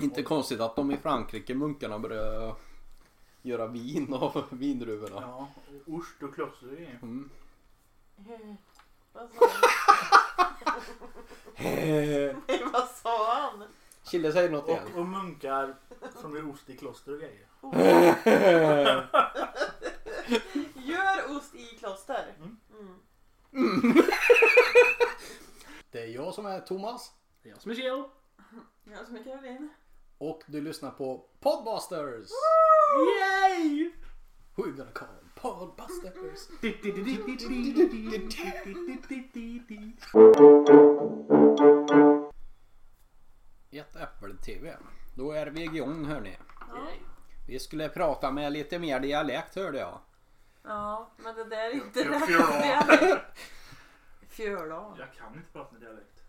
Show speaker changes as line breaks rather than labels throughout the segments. Inte konstigt att de i Frankrike, munkarna, började göra vin av vindruvorna.
Ja, och ost och kloster och grejer.
Mm.
Vad sa han?
Eh,
Nej, vad sa han?
Chille säger något igen.
Och, och munkar som gör ost i kloster och grejer.
Gör ost i kloster.
Mm.
Mm.
Det är jag som är Thomas
Det är jag som är Kjell.
Jag som är Caroline.
och du lyssnar på Podbusters!
Yay!
Who gonna call Podbusters? Ett äppel-tv. Då är vi igång hörni.
Ja.
Vi skulle prata med lite mer dialekt hörde jag.
ja, men det där är inte
Fjö-
rätt.
fjöla.
dialekt. Fjöla.
Jag kan inte prata med dialekt.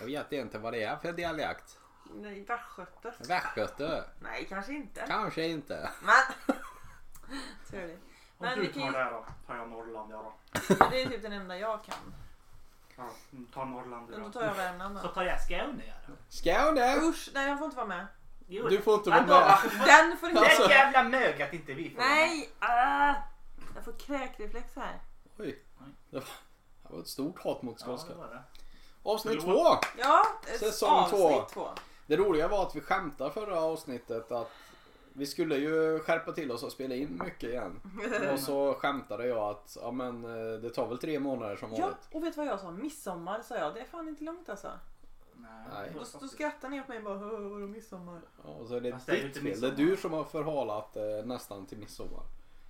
Jag vet inte vad det är för dialekt.
Nej, västgöte.
Västgöte?
Nej, kanske inte.
Kanske inte.
Men. Tur det.
Om
Men
du
vi kan
tar
ju-
det här då, tar jag Norrland jag då.
Det är typ den enda jag kan.
Ja, mm, ta Norrland
Men Då
jag
tar jag Värmland då.
tar jag Skåne jag då.
Skåne!
Usch, nej jag får inte vara med.
Jo,
Du får inte vara
vadå?
med.
Den får inte
Alltså.
Det är jävla mög att inte vi får vara med.
Nej! Ah! Jag får kräkreflex här.
Oj. Det var- det var ett stort hat mot
Ja, det
skånska.
var det.
Avsnitt två!
Förlåt.
Ja, ett
Säsong
avsnitt två.
Det roliga var att vi skämtade förra avsnittet att vi skulle ju skärpa till oss och spela in mycket igen. Och så skämtade jag att ja, men, eh, det tar väl tre månader som
Ja,
vanligt.
och vet du vad jag sa? Midsommar sa jag. Det är fan inte långt alltså.
Nej.
det var
Då, då
faktiskt-
skrattar ni åt mig och bara "Hö, vadå midsommar?
Ja, och så är det
Fast det är ju
ditt
till
fel. Det är
midsommar.
du som har förhalat eh, nästan till midsommar.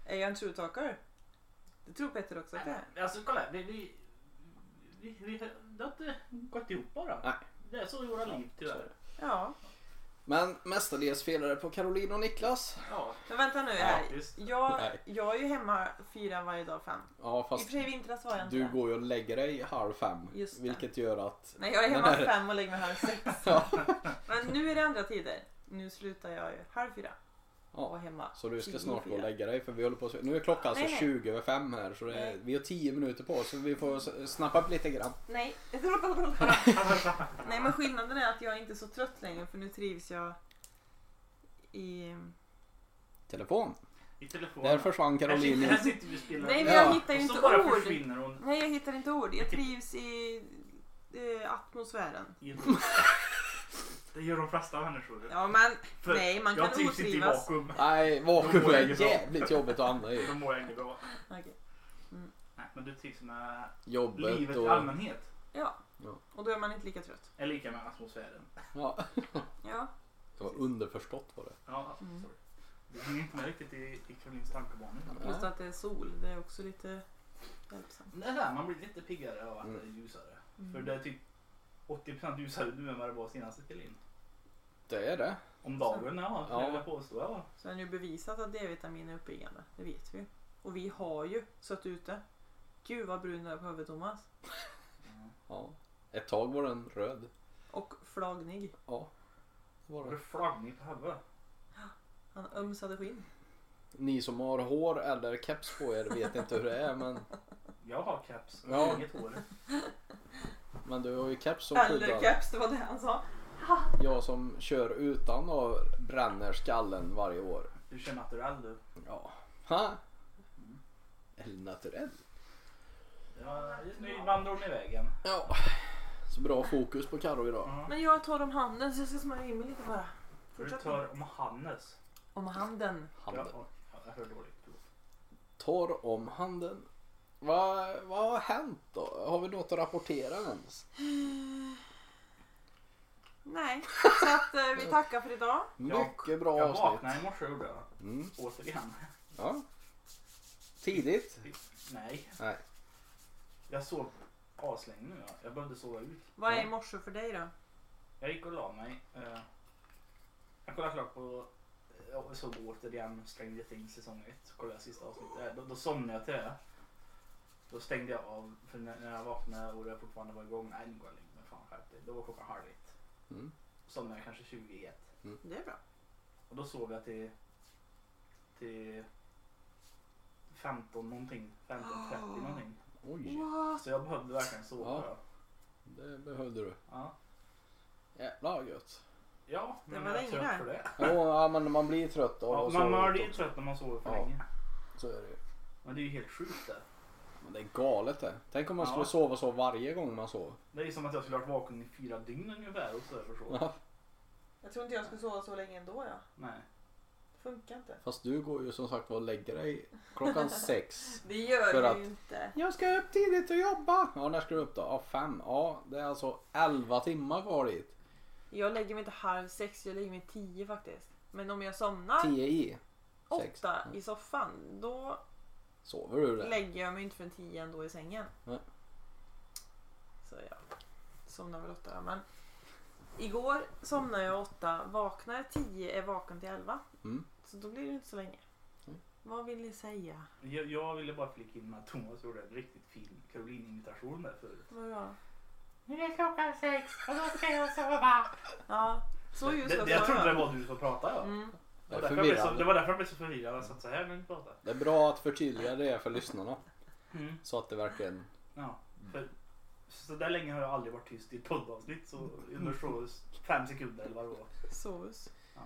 Är jag en true talker? Det tror Petter också att jag är.
Nej, men Alltså kolla, vi, vi, vi, vi, det har inte gått ihop bara.
Nej.
Det är så i våra liv tyvärr.
Ja.
Men mestadels felade på Caroline och Niklas.
Ja,
Men vänta nu
Ja,
här.
visst.
Jag,
Nej.
jag är ju hemma fyra varje dag fem.
Ja
I och
fast
för sig i vintras var jag inte
du
det.
går ju och lägger dig halv fem.
Just det.
Vilket gör att...
Nej, jag är
Den
hemma
här-
fem och lägger mig halv sex.
Ja.
Men nu är det andra tider. Nu slutar jag ju halv fyra.
Ja.
Och var hemma.
Så du ska
tio i
snart gå och
fyra.
lägga dig för vi håller på att... Nu är klockan alltså
Nej, nej.
20 över fem här så det är...
Nej.
vi har 10 minuter på oss så vi får s- snappa upp lite grann.
Nej. Nej men skillnaden är att jag är inte så trött längre för nu trivs jag i...
Telefon.
i telefonen.
Där försvann Caroline.
Här sitter vi och spelar.
Nej men
Ja,
jag hittar ju
Och
inte
så bara
ord.
försvinner hon.
Nej jag hittar inte ord. Jag trivs i eh, atmosfären.
i- Det gör de flesta människor.
Ja men
För
nej man
jag
kan
trivs inte i
otrivas.
vakuum.
Nej, vakuum
Då mår jag
är
inget bra.
jävligt jobbigt att hamna i.
Då mår jag inte bra.
Okej.
Nej, men du trivs med
Jobbet
livet
och...
i allmänhet.
Ja.
Ja.
Och då är man inte lika trött.
Är lika med atmosfären.
Ja.
Ja.
Det var underförstått var det.
Ja,
Mm.
sorry. Du hänger inte med riktigt i, i Karolins tankebanor.
Plus att det är sol. Det är också lite hjälpsamt.
Det där, man blir lite piggare av att
Mm.
det är ljusare.
Mm.
För det är typ 80% ljusare nu än vad det var senaste Karolin.
Det är det.
Om dagen, ja.
Ja.
Det vill jag påstå. Ja.
Så är det ju bevisat att D-vitamin är uppiggande. Det vet vi ju. Och vi har ju suttit ute. Gud vad brun du är på huvudet Thomas.
Ja. Ett tag var den röd.
Och flagnig.
Ja. det Var
Har
det.
du flaggning på huvudet?
Han ömsade skinn.
Ni som har hår eller keps på er vet inte hur det är men,
Jag har caps.
Ja.
Ja. Inget hår.
men du har ju keps som
Eller
skyddar.
keps, det var det han sa.
Jag som kör utan och bränner skallen varje år.
Du kör naturell du.
Ja. Ha? Eller naturell.
Ja, nu vandrar hon i vägen. Mm.
Ja. Så bra fokus på Karo idag.
Ja.
Men jag tar om handen så jag ska smörja in mig lite bara.
Du
Fortsätt.
tar om Hannes.
Om handen.
Handen.
Ja, ja, jag hör dåligt. Förlåt.
Tar om handen. Vad, vad har hänt då? Har vi något att rapportera ens?
Nej, så att eh, vi tackar för idag.
Mycket bra
Jag
avsnitt.
vaknade i morse gjorde jag.
Mm.
Återigen.
Ja. Tidigt?
Nej.
Nej.
Jag sov aslänge nu. Ja. Jag behövde sova ut.
Vad är
Ja.
i morse för dig då?
Jag gick och la mig. eh, Jag kollade klart på... Jag såg återigen Stranger Things säsong 1. Så kollade jag sista avsnittet. Eh, Då, då somnade jag till det. Då stängde jag av. För när när jag vaknade och det fortfarande var igång. Nej nu går jag och lägger mig. Fan skärp dig. Då var klockan halv ett.
Mm.
Somnade jag kanske 20 i ett.
Det är bra.
Och då sov jag till... Till... 15 någonting. 15.30 någonting.
Oj,
What?
Så jag behövde verkligen sova.
Ja. det behövde du.
Ja.
Jävlar vad gött.
Ja,
Det
men
var
jag är
länge
trött
där.
för det.
Jo, ja, men man blir trött av
Ja,
att
man
sova
man
ut
blir ju
också.
trött när man sover för
Ja.
länge.
Så är det ju.
Men det är ju helt sjukt det.
Men det är galet det. Tänk om man skulle
Ja.
sova så varje gång man sover.
Det är ju som att jag skulle ha varit vaken i fyra dygn ungefär och så över så.
Ja,
Jag tror inte jag skulle sova så länge ändå. Ja.
Nej.
Det funkar inte.
fast du går ju som sagt var och lägger dig klockan sex.
Det gör
För
du
att-
ju inte.
Jag ska upp tidigt och jobba. Ja, när ska du upp då? Ja, fem. Ja, det är alltså elva timmar kvar dit.
Jag lägger mig inte halv sex, jag lägger mig tio faktiskt. Men om jag somnar
Tio i. sex.
åtta i soffan, då
Sover du det?
lägger jag mig inte förrän tio ändå i sängen.
Nej.
Så ja, somnar väl åtta då, men. Igår somnade jag åtta, vaknade tio, är vaken till elva.
Mm.
Så då blir det inte så länge.
Mm.
Vad vill ni säga?
Jag, jag ville bara flika in att Thomas gjorde en riktigt fin Caroline-imitation där förut.
Vadå?
Nu är klockan sex och då ska jag sova.
Ja, så
Det,
just
det,
jag
jag
sa,
trodde
ja.
det var du som pratade ja.
Mm.
Det
Det
är
var därför jag blev så- det
förvirrande.
var därför jag blev så förvirrad. Jag satt så här när du pratade.
Det är bra att förtydliga det för lyssnarna.
Mm.
Så att det verkligen...
Ja,
Mm.
för så där länge har jag aldrig varit tyst i ett poddavsnitt. Så under så fem sekunder eller vad det var.
Sovs.
Ja.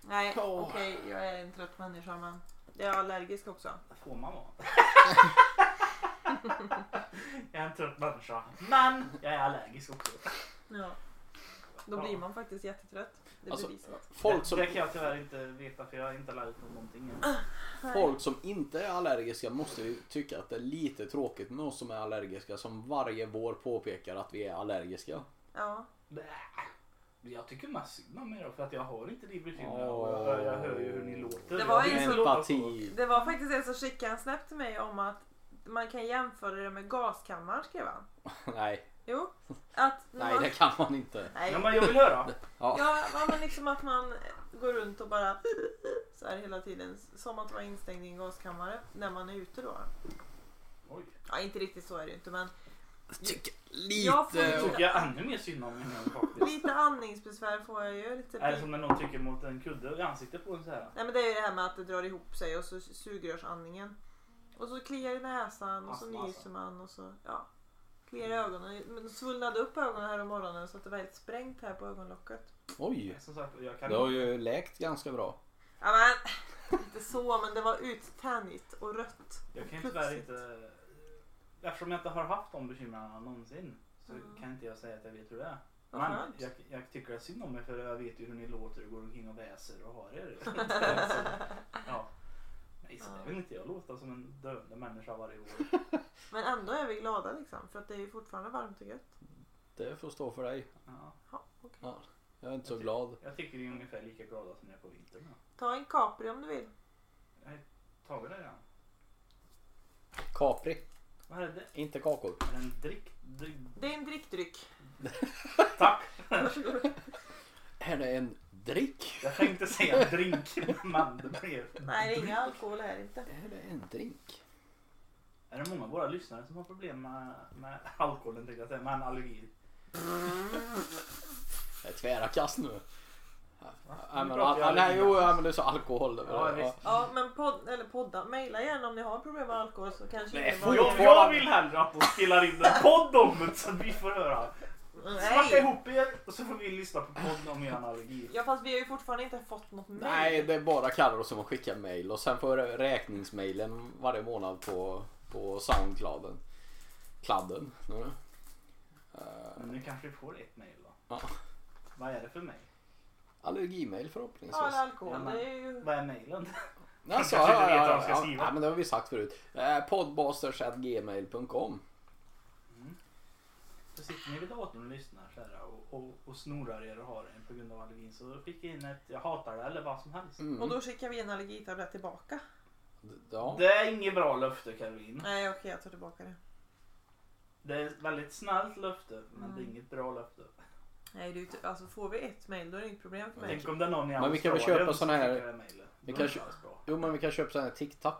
Nej,
Åh.
okej, jag är en trött människa men jag är allergisk också.
Det får man vara. jag är en trött människa. Men jag är allergisk också.
Ja. Då
Ja.
blir man faktiskt jättetrött. Det är
Alltså,
bevisat.
Folk som,
Det, det kan jag tyvärr inte veta för jag har inte lärt mig någonting än.
folk som inte är allergiska måste ju tycka att det är lite tråkigt med oss som är allergiska som varje vår påpekar att vi är allergiska.
Ja.
Bäh. Jag tycker mest synd om er för att jag har inte det bekymret. och Jag, jag hör ju hur ni låter.
Det var
Jag
ju
vill
så-
inte låta så.
Empati.
Det var faktiskt en som skickade en snap till mig om att man kan jämföra det med gaskammaren skrev han.
Nej,
Jo. Att när
nej
man,
det kan man inte.
nej.
Ja, men jag vill höra.
Ja,
Ja, ja, men liksom att man går runt och bara så här hela tiden. Som att vara instängd i en gaskammare när man är ute då.
Oj.
Ja, inte riktigt så är det ju inte men
jag tycker
Jag får
Det
lite...
tycker jag ännu mer synd om er nu faktiskt.
lite andningsbesvär får jag ju. Lite
Är det
pip-
som när någon trycker mot en kudde i ansiktet på en så här.
Nej men det är ju det här med att det drar ihop sig och så sugrörsandningen. Och så kliar i näsan och så
Astma,
nyser
alltså.
man och så ja. Kliar i ögonen. Men svullnade upp ögonen här om morgonen så att det var helt sprängt här på ögonlocket.
Oj,
Som sagt, jag kan...
det har ju läkt ganska bra.
Ja men inte så men det var uttänjigt och rött.
Jag kan ju
Plötsligt.
tyvärr inte... Eftersom jag inte har haft de bekymren någonsin så
Mm.
kan inte jag säga att jag vet hur det är.
Vad
Men
skönt.
jag, jag tycker synd om er för jag vet ju hur ni låter och går omkring och väser och har er. Så, ja. Nej, så det vill inte jag låta som en döende människa varje år.
Men ändå är vi glada liksom för att det är ju fortfarande varmt och gött.
Det får stå för dig.
Ja.
Ja, okej.
Ja, jag är inte så glad.
Jag tycker ni är ungefär lika glada som ni är på vintern. ja.
Ta en Capri om du vill.
Tar vi det redan?
Capri,
Vad är det?
inte kakor.
Är det en drick? drick?
Det är en drickdryck.
Tack!
Varsågod.
Är det en drick?
Jag tänkte säga drink men det blev...
Nej det är inga alkohol här inte.
Är det en drink?
Är det många av våra lyssnare som har problem med, med alkoholen tänkte jag säga, med en allergi?
Det är tvära kast nu. Nej men,
Nu pratar jag
al- nej,
lite.
jo, ja, men du sa alkohol. det var
Ja,
det.
visst.
Ja men podd, eller podda, mejla gärna om ni har problem med alkohol så kanske
Nej,
ni
får
Jag, jag vill hellre att de spelar in en podd om det så vi får höra. Snacka
Nej.
ihop er och så får vi lyssna på podden om er allergi.
Ja fast vi har ju fortfarande inte fått något mejl.
Nej, det är bara Carro som har skickat mejl och sen får räkningsmejlen varje månad på, på Soundclouden. Kladden. nu. Eh,
Men nu kanske vi får ett mejl då.
Ja.
Vad är det för mejl?
allergimejl
Ja,
förhoppningsvis.
eller alkohol.
Jamen.
Det är ju...
Vad är mejlen?
Alltså,
kanske inte
ja,
vet vad
ja,
de ska
ja,
skriva.
ja, men det har vi sagt förut. Eh, Podbusters.gmail.com
Så sitter ni vid datorn och lyssnar så här, och, och, och snorar er och har en på grund av allergin så skicka in ett jag hatar det eller vad som helst.
Och
mm.
då skickar vi en allergitablett tillbaka.
ja.
Det är inget bra löfte Caroline.
Nej okej jag tar tillbaka det.
Det är ett väldigt snällt löfte men det är inget bra löfte.
Nej det är ju inte- alltså får vi ett mejl då är det inget problem för mig.
Tänk om det är någon i
Men vi kan väl
Australien
köpa
som
såna här-
skickar det mejlet.
Vi
Då
kan
är det
kö-
alls bra.
Jo men vi kan köpa sådana här Tic Tac.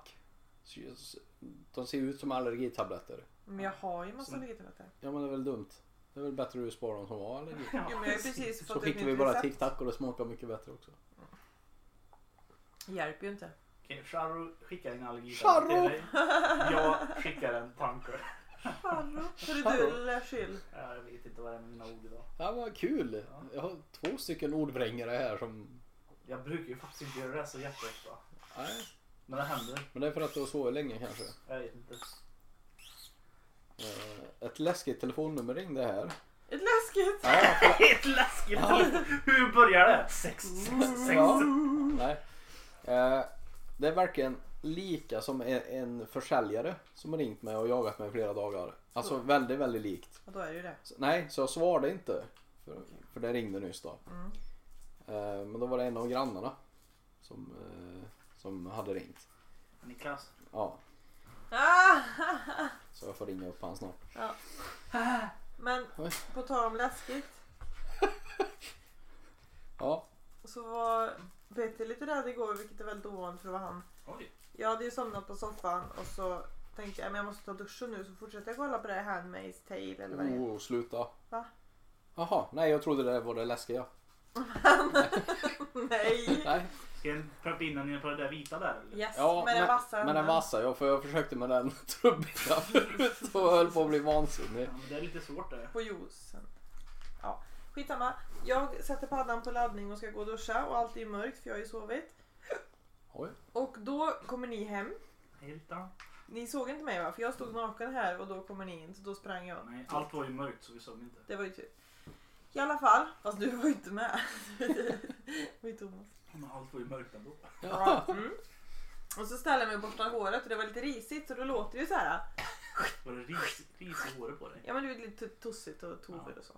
De ser ut som allergitabletter.
Men jag har ju massa
Som-
allergitabletter.
Ja men det är väl dumt. Det är väl bättre att du sparar dem som var allergi.
Jo men jag har ju precis
Så
fått ett
skickar vi
nytt
bara
recept.
Tic Tac och det smakar mycket bättre också.
Hjälper ju inte.
Okej, Charro skickar en allergi
Charro!
till dig. Jag skickar en tanke.
Farro. Hörru du lilla Chill.
Jag vet inte vad det är med mina ord idag.
Ja, vad kul. Jag har två stycken ordvrängare här som...
Jag brukar ju faktiskt inte göra det så jätteofta.
Nej,
Men det händer.
men det är för att du har sovit länge kanske.
Jag vet inte.
Eh, Ett läskigt telefonnummer ringde här.
Ett läskigt.
Ja, för...
Helt läskigt! Hur börjar det? Sex,
Mm.
sex, sex.
Ja. Nej. Eh, Det är verkligen lika som en- en försäljare som har ringt mig och jagat mig i flera dagar. Alltså väldigt, väldigt likt.
Ja, då är det ju det.
Så- Nej, så jag svarade inte. För, för det ringde nyss då.
Mm.
Eh, Men då var det en av grannarna som, eh, som hade ringt.
Niklas.
Ja,
Ah!
så jag får ringa upp han snart.
Ja. Men
Oj.
på tal om läskigt.
Ja,
Så var Peter lite rädd igår vilket är väldigt ovanligt för att vara han.
Oj.
Jag hade ju somnat på soffan och så tänkte jag men jag måste ta duschen nu så fortsätter jag kolla på det här Handmaid's Tale eller vad det heter.
oh, sluta.
Va?
Jaha, nej jag trodde det var det läskiga.
Nej!
Nej.
Ska jag preppa innan ni på det där vita där eller?
Yes,
Ja,
med den vassa
men den
handen.
vassa, ja, för jag försökte med den trubbiga förut och höll på att bli vansinnig.
Ja, men det är lite svårt det.
På juicen. Ja, skitsamma. Jag sätter paddan på laddning och ska gå och duscha och allt är mörkt för jag har ju sovit.
Oj.
Och då kommer ni hem.
Helt an-
Ni såg inte mig va? För jag stod naken här och då kommer ni in så då sprang jag.
Nej, allt var ju mörkt så vi såg inte.
Det var ju tur. I alla fall, fast du var ju inte med. Det var ju Thomas.
Men allt var ju mörkt ändå.
Ja.
Mm. Och så ställde jag mig och borstade håret och det var lite risigt så då låter det ju så här.
Var det ris, ris i håret på dig?
Ja men det är lite tossigt och tover och så.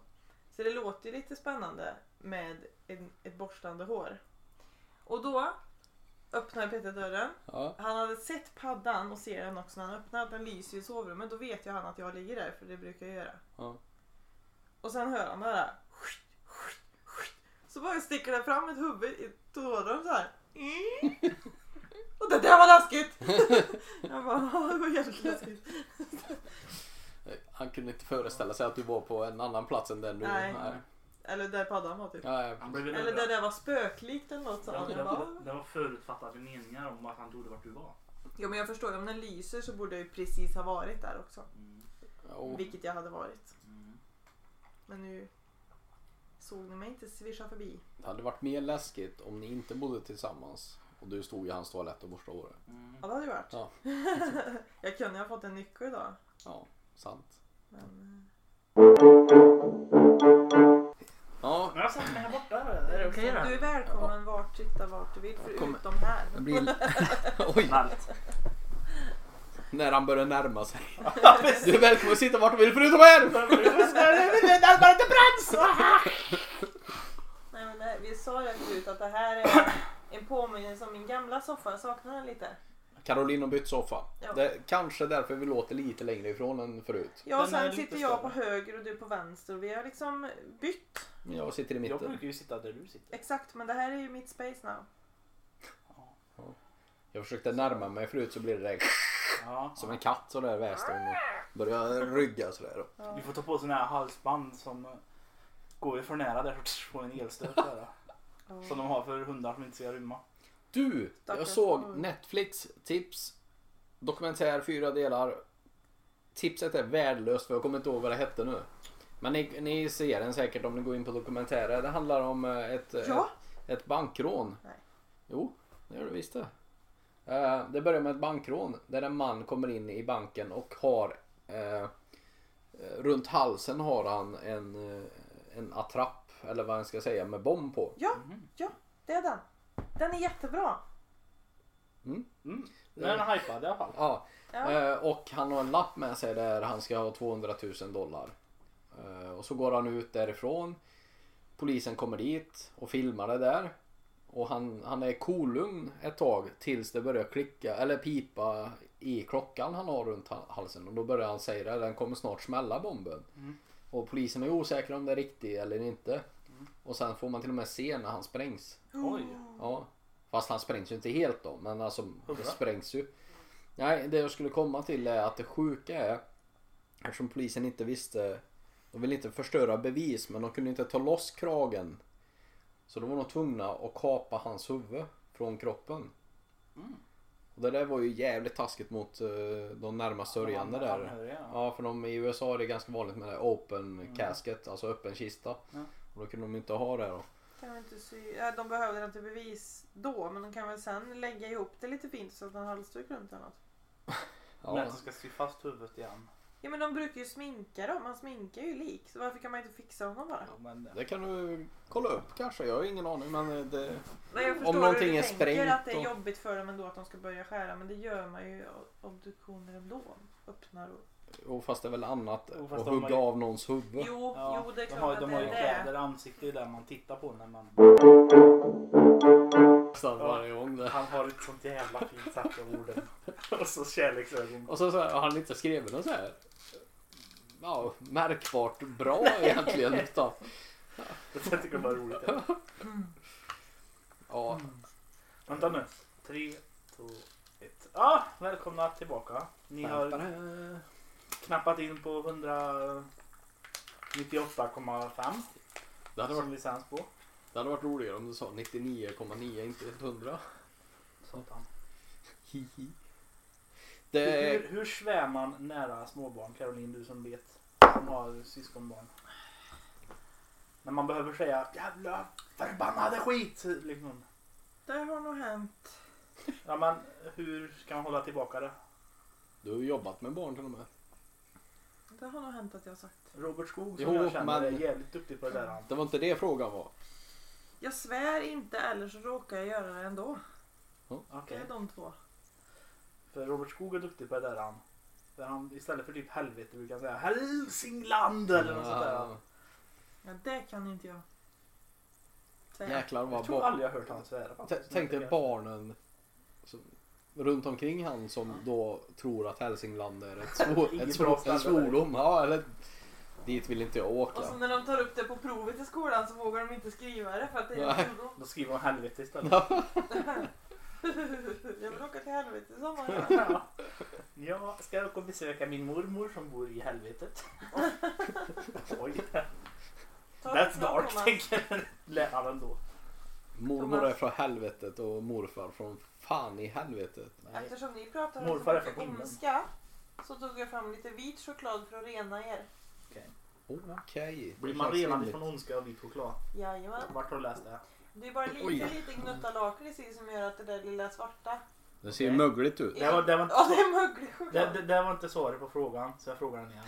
Så det låter ju lite spännande med en, ett borstande hår. Och då öppnar Peter dörren.
Ja.
Han hade sett paddan och ser den också när han öppnar. att Den lyser i sovrummet. Då vet ju han att jag ligger där för det brukar jag göra.
Ja.
Och sen hör han det här. Så bara sticker det fram ett huvud i tårarna så här. Och det där var läskigt! Jag bara, ja det var jävligt läskigt.
Han kunde inte föreställa sig att du var på en annan plats än den du...
Nej. Eller där paddan var typ.
Nej.
Han blev
Eller där det var spöklikt eller något
Ja,
sånt.
det,
Jag
var,
bara,
det var förutfattade meningar om att han trodde vart du var.
ja men jag förstår ju, om den lyser så borde jag ju precis ha varit där också.
Mm.
Jo.
Vilket jag hade varit.
Mm.
Men nu såg ni mig inte svischa förbi.
Det hade varit mer läskigt om ni inte bodde tillsammans och du stod i hans toalett och borstade håret.
Mm.
Ja det hade ju varit.
Ja.
jag kunde ju ha fått en nyckel idag.
Ja, sant.
Men...
Ja,
Men jag satt mig här borta. Är det okej
Så du
då?
är välkommen vart, titta vart du vill
kommer-
förutom här.
det blir... Oj,
Varmt.
när han börjar närma sig. Du är välkommen att sitta vart du vill förutom här!
Nej, men nej, vi sa det förut att det här är en påminnelse om min gamla soffa. Jag saknar den lite.
Caroline har bytt soffa.
Ja.
Det är kanske därför vi låter lite längre ifrån än förut.
Ja, och
Den är
sen
lite
sitter jag på
större.
höger och du på vänster. och Vi har liksom bytt
Men Jag sitter i
Jag
mitten.
brukar ju sitta där du sitter.
exakt, men det här är ju mitt space now.
Jag försökte närma mig förut så blev det där
Ja.
som en katt sådär väste hon och började rygga sådär.
Du får ta på sådana här halsband som eh, går ju för nära där så får en elstöt. Där,
Ja.
som de har för hundar som inte ska rymma.
Du! Jag
Stackars
såg
hund.
Netflix tips dokumentär fyra delar. Tipset är värdelöst för jag kommer inte ihåg vad det hette nu. Men ni, ni ser den säkert om ni går in på dokumentärer. Det handlar om eh, ett, eh,
Ja.
ett, ett bankrån.
Nej.
Jo, det gör du visst det. Eh, Det börjar med ett bankrån där en man kommer in i banken och har eh, eh, runt halsen har han en, eh, en attrapp eller vad man ska säga med bomb på.
Ja,
Mhm.
ja, det är den. Den är jättebra.
Mm. Den är hypad i alla fall.
Ja.
Ja.
Eh, och han har en lapp med sig där han ska ha 200 000 dollar. Eh, och så går han ut därifrån. Polisen kommer dit och filmar det där. Och han, han är kolugn ett tag tills det börjar klicka eller pipa i klockan han har runt ha- halsen. Och då börjar han säga det, den kommer snart smälla bomben. Och polisen är osäker om det är riktigt eller inte. Och sen får man till och med se när han sprängs.
Oj.
Ja. Fast han sprängs ju inte helt då. Men alltså det
Hundra?
sprängs ju. Nej, det jag skulle komma till är att det sjuka är eftersom polisen inte visste. De ville inte förstöra bevis men de kunde inte ta loss kragen. Så då var de tvungna att kapa hans huvud från kroppen. Och det där var ju jävligt taskigt mot eh, de närmast sörjande
Han-
där.
anhöriga, ja.
Ja, för de i USA är det ganska vanligt med det här open casket, alltså öppen kista.
Ja.
Och då kunde de inte ha det då.
Kan vi inte sy... ja, de behövde den till bevis då, men de kan väl sen lägga ihop det lite fint så att en halsduk runt eller något.
Ja,
Men att de ska sy fast huvudet igen.
Ja men de brukar ju sminka dem, man sminkar ju lik. Så varför kan man inte fixa honom bara?
Ja, men,
Det kan du kolla upp kanske, jag har ingen aning men eh, det...
Nej, jag
Om
förstår Om
någonting
hur du
är
tänker
sprängt
att det är
och-
jobbigt för dem ändå att de ska börja skära. Men det gör man ju i obduktioner ändå. Öppnar och...
Och fast det är väl annat
Jo,
att
fast de har
hugga
ju-
av någons huvud.
Jo,
ja,
jo det är
de
klart
har,
att
de
det
har
är
ju
det.
kläder, ansikte, det är där man tittar på när man...
Nästan varje gång det.
Han har ett sånt jävla fint sagt av orden. Och så kärleksögon.
Och så, så här, har han inte skrivit något så här. Ja, märkbart bra egentligen. Utan,
Jag tycker det var roligt.
ja,
Vänta nu. Tre, två, ett. Ah, välkomna tillbaka. Ni har knappat in på 198,5
det, hade varit,
som licens på.
det hade varit roligare om du sa 99,9 inte 100.
Satan.
Hihi.
Hur,
Det,
hur svär man nära småbarn? Caroline, du som vet. Som har syskonbarn. När man behöver säga jävla förbannade skit. Liksom.
Det har nog hänt.
Ja, men hur ska man hålla tillbaka det?
du har ju jobbat med barn till och med.
Det har nog hänt att jag har sagt.
Robert Skog som
Jo,
jag känner
men-
är jävligt duktig på det där. Han.
Det var inte det frågan var.
Jag svär inte eller så råkar jag göra det ändå. Det
Okej.
är de två.
För Robert Skog är duktig på det där han. Där han istället för typ helvete brukar säga Hälsingland eller något sånt där.
Ja, det kan inte jag.
Ja,
Säga.
äh, jäklar
Jag
vad
tror
barn.
aldrig jag hört han svära
T-
faktiskt.
Tänk dig barnen som, runt omkring han som då tror att Hälsingland är ett, svår,
Inget
ett
bra
svår,
ställe. Alltså,
en svordom. Ja, eller dit vill inte jag
Och
åka.
så när de tar upp det på provet i skolan så vågar de inte skriva det för att det är
Nej.
en oro.
Då skriver han helvete istället.
Jag vill åka till helvete i sommar.
Ja. Jag ska åka och besöka min mormor som bor i helvetet. Oj,
Ta
that's
det
dark
snart, Thomas.
tänker läraren då.
Mormor
Thomas.
är från helvetet och morfar från fan i helvetet.
Nej.
Eftersom ni pratar om så
Morfar är
mycket
från Finland.
ondska så tog jag fram lite vit choklad för att rena er.
Okej. det
Blir man
känns
renad
rimligt.
ifrån ondska av vit choklad?
Jajamän.
Vart har du läst det?
Det är bara
Oj.
lite, lite gnutta
Mm.
lakrits i som gör att det där lilla svarta...
Det ser ju
Okej.
mögligt ut.
Det var- det var inte-
Ja, det är möglig
Det,
choklad.
det, det var inte svaret på frågan, så jag frågar den igen.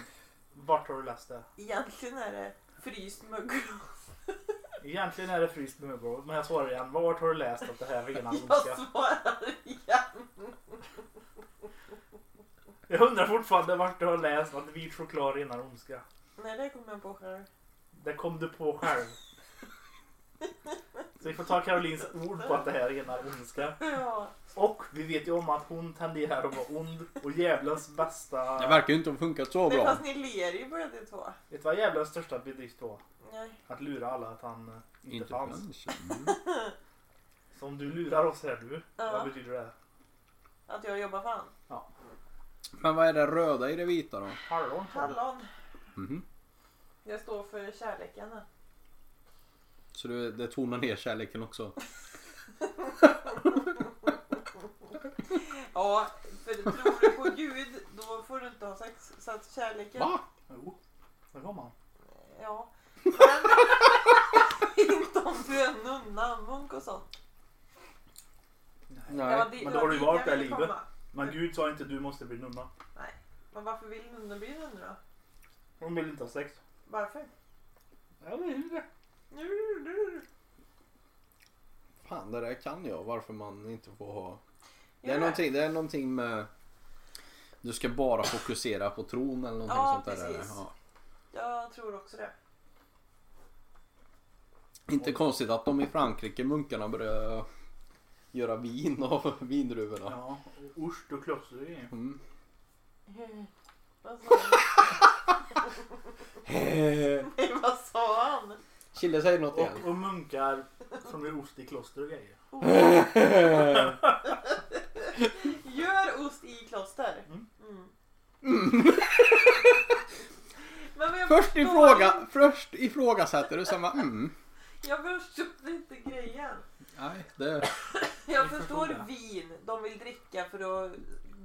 Vart har du läst det?
Egentligen är det fryst mögel.
Egentligen är det fryst mögelbröd, men jag svarar igen. Vart har du läst att det här är renad
Jag
ondska?
svarar igen.
Jag undrar fortfarande vart du har läst att vit choklad renar ondska.
Nej, det kommer jag på själv.
Det kom du på själv. Så vi får ta Karolins ord på att det här renar ondska.
Ja.
Och vi vet ju om att hon tenderar att vara ond och djävulens bästa...
Det verkar ju inte ha funkat så
Nej,
bra.
fast ni ler ju båda ni två.
Vet du vad djävulens största bedrift var?
Nej.
Att lura alla att han eh, inte,
Inte
fanns.
fanns. Mm.
Så om du lurar oss här nu,
Ja.
vad betyder det?
Att jag jobbar fan.
Men vad är det röda i det vita då?
Hallon sa du.
Hallon.
Mhm.
Jag står för kärleken.
Så det, det tonar ner kärleken också.
Ja, för tror du på Gud då får du inte ha sex. Så att kärleken...
Va?
Jo, där kom han.
Ja. Men inte om du är en nunna, munk och sånt. Det var
Nej.
di-
men
det
då
var
har du
dit
varit
jag
där i
ville
livet.
komma.
Men Gud sa inte du måste bli nunna.
Men varför vill nunnor bli nunnor då?
Hon vill inte ha sex.
Varför?
Jag vill det.
Fan, det där kan jag. Varför man inte får ha... Det
Gör
är
det?
någonting, det är någonting med... Du ska bara fokusera på tron eller någonting
Ja,
sånt där. är det.
precis.
Ja.
Jag tror också det.
Inte konstigt att de i Frankrike, munkarna, börjar göra vin av vindruvorna.
Ja, och ost och kloster är ju.
Mm.
Vad sa han?
Hehe.
Nej, vad sa han?
Kille säger något igen.
Och, och munkar som gör ost i kloster och grejer.
Oh, gör ost i kloster.
Mm.
Mm. Men jag
Först,
förstår
ifråga, först ifrågasätter du, sen bara mm.
Jag förstod inte grejen.
Nej, det...
Jag
Vi
förstår
förstod det.
vin. De vill dricka för att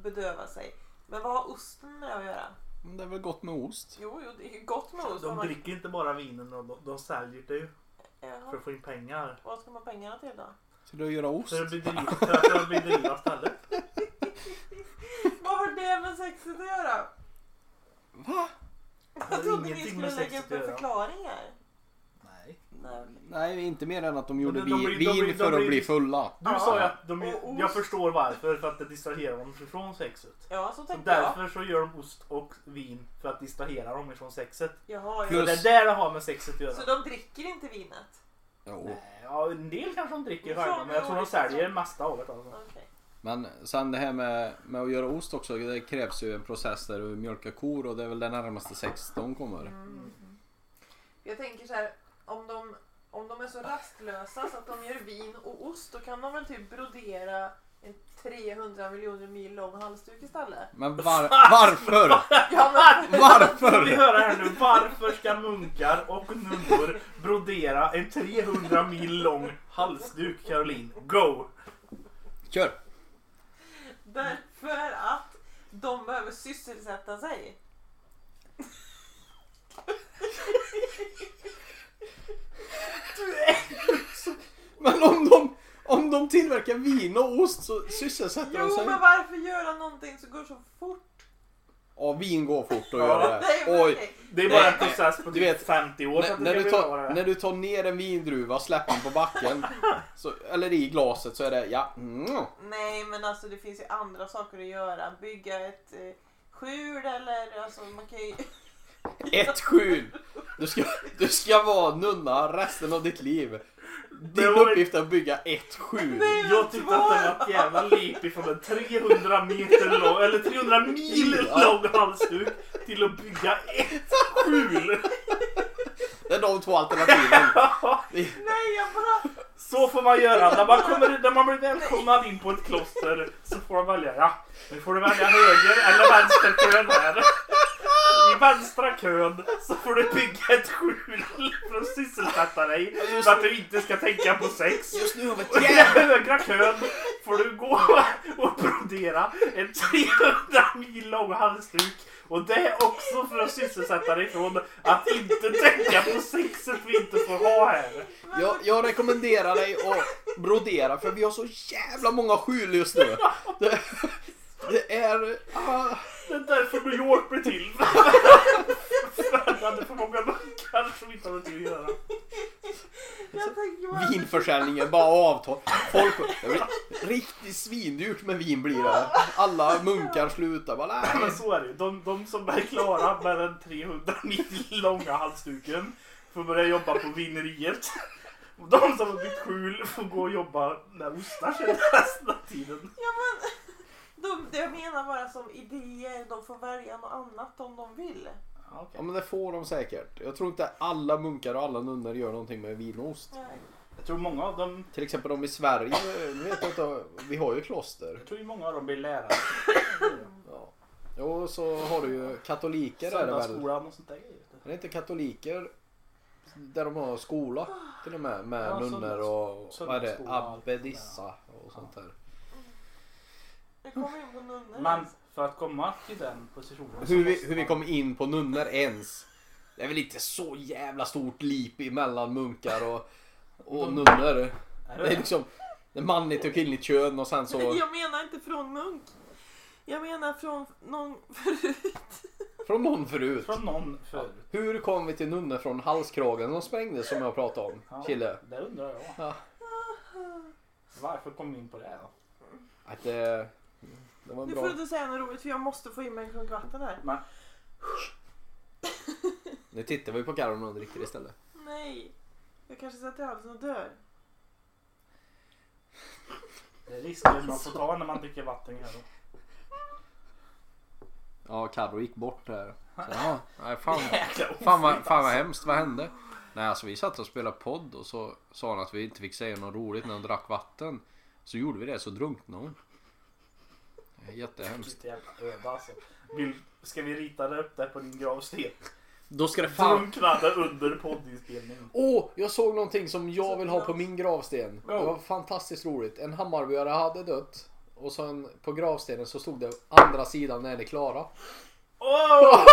bedöva sig. Men vad har osten med att göra?
Men det är väl gott med ost?
Jo, jo det är ju gott med ost.
De
Man-
dricker inte bara vinen, och de, de säljer det ju för
Jaha.
att få in pengar.
Vad ska man ha pengarna till då?
Ska du göra ost?
För att bedriva, för att bedriva stället.
Vad har det med sexet att göra?
Va?
Det
Jag
har
trodde ni
ingenting
skulle
med
lägga
sexet
upp en
att göra.
förklaring här.
Nej.
Nej, okej.
Nej, inte mer än att de gjorde
de- de
vi-
blir- de
vin
blir- de
för att
blir-
bli fulla.
Du
Ja.
sa ju att de,
Och ost.
jag förstår varför, för att det distraherar dem från sexet.
Ja, så
Så
tänkte jag.
därför så gör de ost och vin för att distrahera dem ifrån sexet.
Jaha,
Så
Plus-
ja.
det är där det har med sexet att göra.
Så de dricker inte vinet?
Jo.
Nej, Ja, en del kanske de dricker
Det är så
själva, men jag tror de
roligt alltså.
säljer mesta av det. Alltså.
Okej.
Men sen det här med, med att göra ost också, det krävs ju en process där du mjölkar kor och det är väl det närmaste sex de kommer.
Jag tänker så här, om de, om de är så rastlösa så att de gör vin och ost, då kan de väl typ brodera en 300 miljoner mil lång halsduk istället?
Men var, varför?
Ja, men,
Får vi
Varför?
höra här nu, varför ska munkar och nunnor brodera en 300 mil lång halsduk Caroline? Go!
Kör!
därför att de behöver sysselsätta sig.
Men om de, om de tillverkar vin och ost så sysselsätter de
Jo,
sig.
men varför göra någonting som går så fort?
Ja, vin går fort att
Ja.
göra
Nej,
det.
men
Oj!
okej.
Det är bara
Nej,
en process på
du
typ
vet,
50 år för
När,
att
när,
du
du
ska bli bra
tar,
med det.
när du tar ner en vindruva och släpper den på backen så, eller i glaset så är det ja. Mm.
Nej, men alltså det finns ju andra saker att göra. Bygga ett eh, skjul eller alltså man kan ju...
Ett skjul! Du ska, du ska vara nunna resten av ditt liv. Din
Det var-
uppgift är att bygga ett skjul.
Nej, men
Jag tyckte att det var ett jävla leap ifrån en 300 meter lång, eller 300 mil
Ja.
lång halsduk till att bygga ett skjul.
Det är de två alternativen.
Nej, jag bara...
Så får man göra. När man, kommer, när man blir välkomnad in på ett kloster så får man välja. Ja, nu får du välja höger eller vänsterkön här. I vänstra kön så får du bygga ett skjul för att sysselsätta dig. Så att du inte ska tänka på sex.
Just nu har vi
Och
ett
I
jävla...
högra kön får du gå och brodera en 300 mil lång halsduk. Och det är också för att sysselsätta dig från att inte tänka på sexet vi inte får ha här.
Jag, jag rekommenderar dig att brodera för vi har så jävla många skjul just nu. Det, det är... Ah,
Det är därför New York blev till. För att det hade för många munkar som inte hade till att göra.
Jag tänker bara...
vinförsäljningen bara avtar. Folk... Det blir riktigt svindyrt med vin blir det. Alla munkar slutar bara nej.
Men så är det ju. De, de som är klara med den 300 mil långa halsduken får börja jobba på vineriet. Och de som har bytt skjul får gå och jobba med ostar sen resten av tiden.
Ja, men... De, det jag menar bara som idéer, de får välja något annat om de vill.
Ja men det får de säkert. Jag tror inte alla munkar och alla nunnor gör någonting med vinost.
Nej.
Jag tror många av dem
Till exempel de i Sverige, nu vet jag inte, vi har ju kloster.
jag tror ju många av dem blir lärare.
Ja. Jo, så har du ju katoliker är det väl?
Söndagsskolan och sånt där grejer.
Är det inte katoliker där de har skola till och med? Med
Ja,
nunnor och vad är det?
söndagsskola och allt det där.
Abbedissa och sånt där.
Nu kommer vi in på nunnor.
Men för att komma till den positionen så
Hur vi,
måste
hur vi
man-
kom in på nunnor ens. Det är väl inte så jävla stort lip emellan munkar och, och nunnor.
Är
Det är liksom det är manligt och kvinnligt kön och sen så
Jag menar inte från munk. Jag menar från någon förut.
från någon förut.
Från någon förut.
Hur kom vi till nunnor från halskragen som sprängdes som jag pratade om?
Ja,
Kille.
Det undrar jag.
Ja.
Varför kom vi in på det? Då?
Att det, det var en
Nu
bra...
får du inte säga något roligt för jag måste få in mig en klunk vatten här.
Nu tittar vi på Karin och hon dricker istället.
Nej. Jag kanske sätter i halsen och dör.
Det är risker man får ta när man dricker vatten. Här. då.
Ja, Carro gick bort där. Så, ja, nej, fan,
Jäkla
fan, vad, fan vad hemskt, vad hände? Nej, alltså vi satt och spelade podd och så sa hon att vi inte fick säga något roligt när hon drack vatten. Så gjorde vi det, så drunknade hon. Det är Jättehemskt.
Vilket jävla öde alltså. Vill, ska vi rita det upp där på din gravsten?
Då ska det fan...
Drunknade under poddinspelningen.
Åh, jag såg någonting som jag vill ha på min gravsten. Det var fantastiskt roligt. En Hammarbyare hade dött. Och sen på gravstenen så stod det andra sidan när det är klara.
Åh!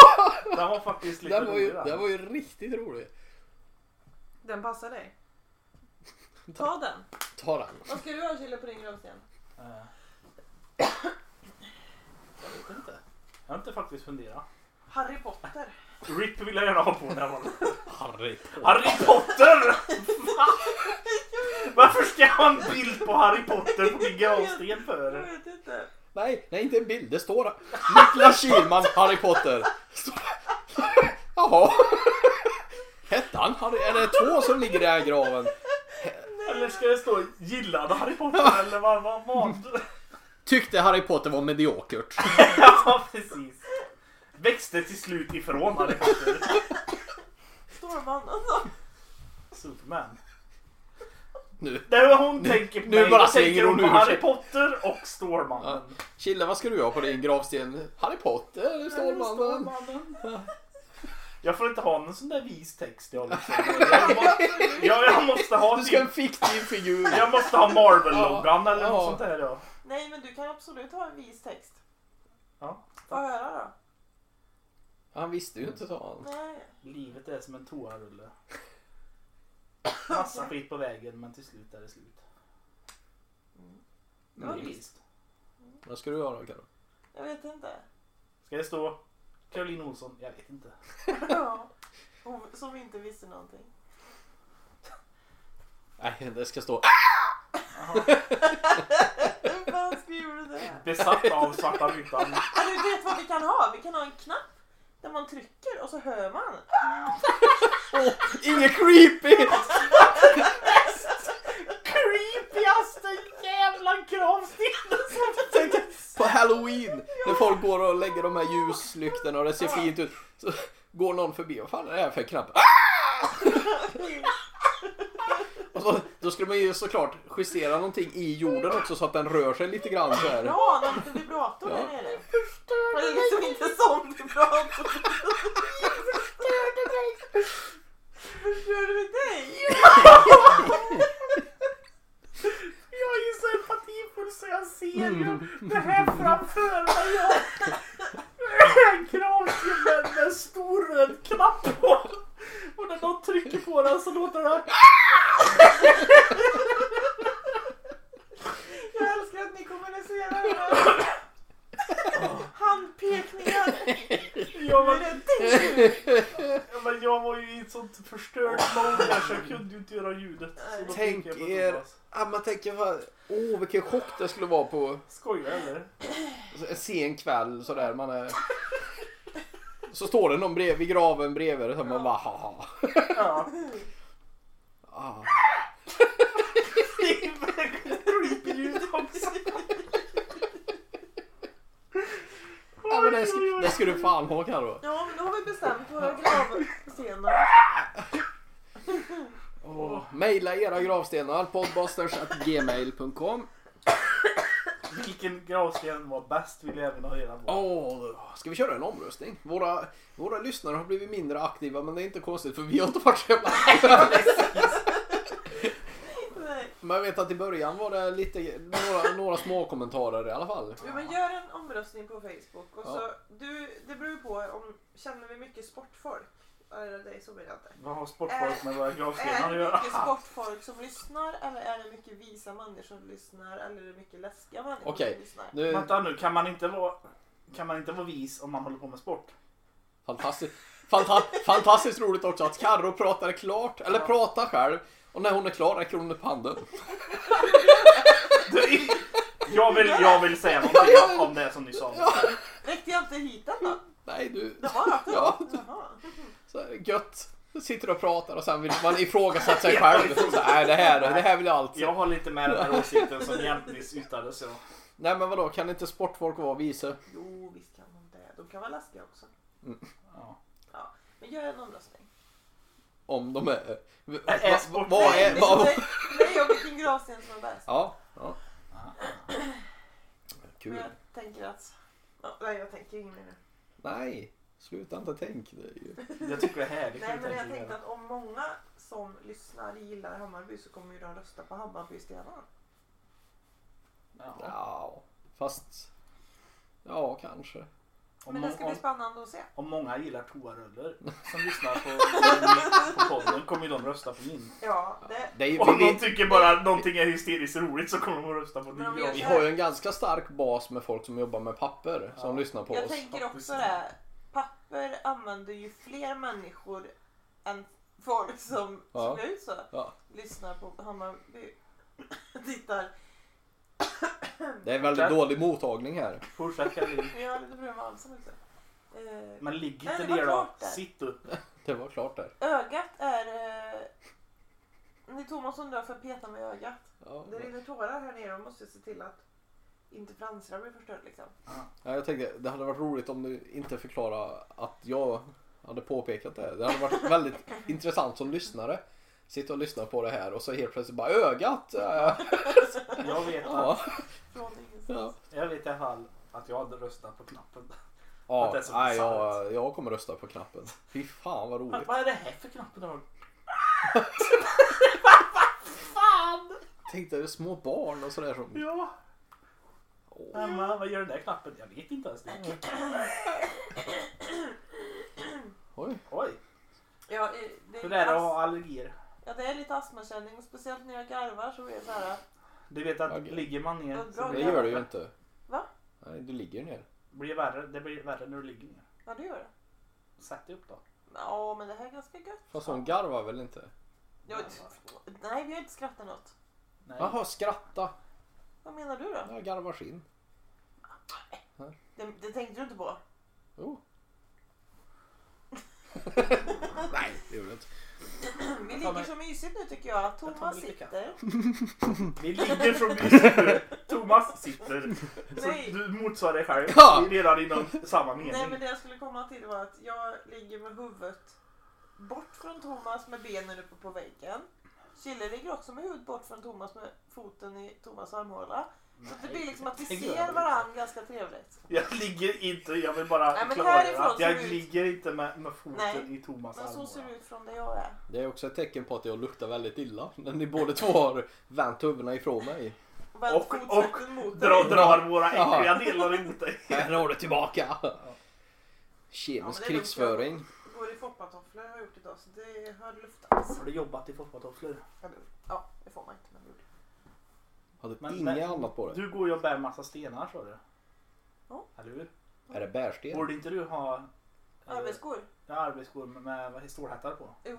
Den Oh! var faktiskt lite
Den var ju,
rolig
den
den.
var ju riktigt rolig.
Den passar dig. Ta den.
Ta den.
Vad ska du ha Kille på din gravsten?
Eh. Jag vet inte. Jag har inte faktiskt funderat.
Harry Potter.
RIP vill jag gärna ha på när jag var
Harry.
Harry Potter! Varför ska jag ha en bild på Harry Potter på min gravsten
Jag
för?
vet inte.
Nej, nej inte en bild. Det står Niklas Kihlman, Harry Potter. Står- Jaha. Hette han Harry? Är det två som ligger i den här graven?
Eller ska det stå gillade Harry Potter eller vad vad vad?
Tyckte Harry Potter var mediokert.
Ja precis. Växte till slut ifrån Harry Potter.
Stormannen då?
Superman.
Nu.
Det hon tänker på
nu
mig,
bara
då
slänger
tänker hon
hon
på
ur sig.
Harry Potter och Stålmannen.
Kille, vad ska du ha på din gravsten? Harry Potter, Stålmannen.
Jag får inte ha någon sån där vis text jag liksom. Jag, måste, jag, jag måste ha
Du ska ha
typ,
en fiktiv figur.
jag måste ha Marvel-loggan eller
Ja.
något sånt där ja.
Nej men du kan absolut ha en vis text.
Ja.
Få höra då.
Han visste ju inte, sa han.
Nej.
Livet är som en toarulle. Massa skit på vägen men till slut är det slut.
Det var
Det är
visst.
visst.
Vad ska du ha då, Karin?
Jag vet inte.
Ska det stå Caroline Olsson? Jag vet inte.
Ja. Hon som inte visste någonting.
Nej, det ska stå
Hur fan skriver du det?
Besatt av svarta rutan.
Ja, Alltså, Du vet vad vi kan ha? Vi kan ha en knapp där man trycker och så hör man.
Åh, inget creepy!
Creepyaste jävla kravstenen som
Tänk på halloween när folk går och lägger de här ljuslyktorna och det ser fint ut. Så går någon förbi, vad fan är det här för knapp? Ah! Och så, då skulle man ju såklart justera någonting i jorden också så att den rör sig lite grann så här.
Bra, en liten vibrator där
Ja.
nere. Eller liksom inte som vibrator. Förstörde mig. dig?
Jag är ju så empatifull så jag ser ju det här framför mig. Jag- Jag är en kravsten med- med en stor röd knapp på. Och när någon trycker på den så låter det...
Jag älskar att ni kommunicerar med handpekningar.
Jag
Nu är
var,
det dig.
ja, men jag var ju i ett sånt förstört mode där så jag kunde ju inte göra ljudet. Så då
Tänk
tänker jag på
er-
Thomas.
Ja, man tänker bara, åh vilken chock det skulle vara på
Skojar eller?
en sen kväll sådär. Man är... Så står det någon bredvid graven bredvid och man bara haha.
Ja.
Ah.
Det är verkligen creepy ljud också.
Ja, men det, sk- det ska du fan ha Carro.
Ja, men då har vi bestämt våra gravstenar.
Åh, Maila era gravstenar podbusters.gmail.com
Vilken gravsten var bäst vill jag även ha reda på.
Åh, Ska vi köra en omröstning? Våra, våra lyssnare har blivit mindre aktiva men det är inte konstigt för vi har inte varit så jävla
Nej.
Men jag vet att i början var det lite, några, några små kommentarer i alla fall.
Jo, men gör en omröstning på Facebook. Och så,
Ja.
du, det beror ju på om känner vi mycket sportfolk. Eller dig så blir det inte.
Vad har sportfolk med våra
Är
gravstenar att
det
göra?
Eh, mycket sportfolk som lyssnar eller är det mycket visa människor som lyssnar eller är det mycket läskiga människor
Okej.
som lyssnar?
Nu,
Vänta nu, kan man inte vara... Kan man inte vara vis om man håller på med sport?
fantastiskt, fanta, fantastiskt roligt också att Carro pratar klart, eller pratar själv. Och när hon är klar räcker hon upp handen.
Du, jag, vill, jag vill säga någonting om det som ni sa.
Räckte jag inte hit den då?
Nej du,
Det var rakt
Ja.
upp. Jaha.
så här, gött. Så Sitter och pratar och sen vill man ifrågasätta sig själv. Så, nej, det här, det här vill jag alltså.
Jag har lite med den här åsikten som Jämtnis yttrade så.
Nej men vadå, kan inte sportfolk vara vise?
Jo, visst kan de det. De kan vara läskiga också.
Ja.
Ja. Men gör en omröstning.
Om de är... Va,
är
va,
sport-
vad är...
nej,
Vad,
nej, nej, och vilken gravsten som är bäst.
ja. ja.
Men
Kul.
jag tänker att... Ja, Nej, jag tänker inget mer nu.
Nej. Sluta inte tänk. Det är ju...
Jag tycker det är härligt.
Nej
att
men
tänka
jag
så
tänkte
här.
att om många som lyssnar gillar Hammarby så kommer ju de rösta på Hammarby Stefan.
Ja.
Ja, fast... Ja, kanske.
Om,
Men det ska
om,
bli spännande att se.
om många gillar toaruller som lyssnar på, på podden kommer ju de rösta på min.
Ja, det,
Det är ju,
Om
vi,
de
vi,
tycker bara att någonting är hysteriskt roligt så kommer de att rösta på
Men
din.
om vi gör
vi
så
har ju
här,
en ganska stark bas med folk som jobbar med papper som
Ja.
lyssnar på
jag
oss.
tänker
Faktiskt.
också det. Papper använder ju fler människor än folk som
Ja.
ser ut så.
Ja.
Lyssnar på Hammarby. Tittar.
Det är väldigt
Där.
dålig mottagning här.
Fortsätt Karin.
Jag har lite problem med halsen också. Eh,
Men ligg
Nej,
inte
det var
ner då.
klart där.
Sitt upp.
Det var klart där.
Ögat är... Eh, det är Thomas som dör för att peta med ögat.
Ja.
Det rinner tårar här nere och måste se till att inte fransarna blir förstörda liksom.
Ja, jag tänkte det hade varit roligt om du inte förklarar att jag hade påpekat det. Det hade varit väldigt intressant som lyssnare. Sitta och lyssna på det här och så helt plötsligt bara ögat. Ja,
Jag vet,
ja.
Från
ja.
ingenstans.
jag vet i alla fall att jag hade röstat på knappen. Att
ja.
det är så
Nej,
bisarrt.
jag, jag kommer rösta på knappen. Fy fan vad roligt.
Vad är det här för knapp idag?
Tänk dig små barn och sådär som...
Ja.
Åh.
Mamma, vad gör den där knappen? Jag vet inte ens det.
Oj.
Oj,
Ja, eh, det,
hur
är
är det att
as-
ha allergier?
ja, det är lite astmakänning och speciellt när jag garvar så är det så här.
Du vet att
Okej.
ligger man ner så
Det
blir
gör du ju inte.
Va?
Nej, du ligger ner.
blir värre. Det blir värre när du ligger ner.
Ja, det gör det.
Sätt dig upp då.
Ja, men det här är ganska gött.
Fast hon garvar väl inte?
Jag, nej, vi har inte skrattat något.
Nej.
Jaha, skratta.
Vad menar du då?
Jag garvar sin.
Det, det tänkte du inte på?
Jo. Nej, det gjorde jag inte.
Vi ligger så mysigt nu tycker jag. att
tar
Thomas
mig lite
sitter.
Vi ligger så mysigt nu. Thomas sitter. Så
Nej.
du motsvarar dig själv.
Ja.
Vi är redan inom samma mening.
Nej men det jag skulle komma till var att jag ligger med huvudet bort från Thomas med benen uppe på väggen. Kille ligger också med huvudet bort från Thomas med foten i Thomas armhåla. Så att det blir liksom att vi
det gör jag
ser
väl
varandra ganska trevligt.
Jag ligger inte, jag vill bara
Nej, men
klargöra
härifrån
att
ser
jag
det ut.
ligger inte med, med foten
Nej,
i Thomas
Men så ser
armhåla.
det ut från där jag är.
Det är också ett tecken på att jag luktar väldigt illa. När ni båda två har vänt huvudena ifrån mig.
Och vänt
Och-
fotsvetten mot dig.
Dra, drar våra
Ja.
äckliga delar emot dig.
Här har du tillbaka! Kemisk
Ja, men det är
krigsföring.
Går i foppatofflor har jag gjort idag så det har luftats.
Har du jobbat i foppatofflor?
Ja, det får man inte men det gjorde jag.
Hade
Men-
inget
men-
annat på det.
Du går ju och bär massa stenar sa du.
Ja.
Eller hur?
Är det bärsten?
Borde inte du ha eh,
Arbetsskor?
ja, arbetsskor med, med vad- stålhättar på?
Jo,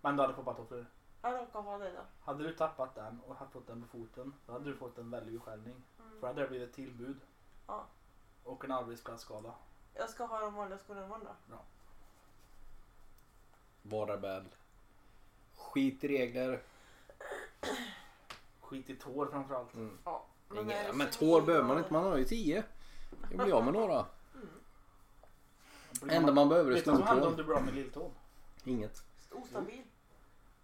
Men du hade foppatofflor.
jag råkar ha det då.
Hade du tappat den och haft fått den på foten då hade du fått en väldig skällning. För då hade det blivit ett tillbud.
Mm. Ja.
Och en arbetsplatsskada.
Jag ska ha de vanliga skorna imorgon då.
Var rebell. Skit i regler.
Skit i tår framförallt.
Mm.
Ja.
Inga,
är det
men
kemi-
tår behöver man inte, man har ju tio. Jag blir av med några.
Blir
enda man behöver är
Vet du vad som händer om
stortån.
du blir av med lilltån?
Inget.
Ostabil.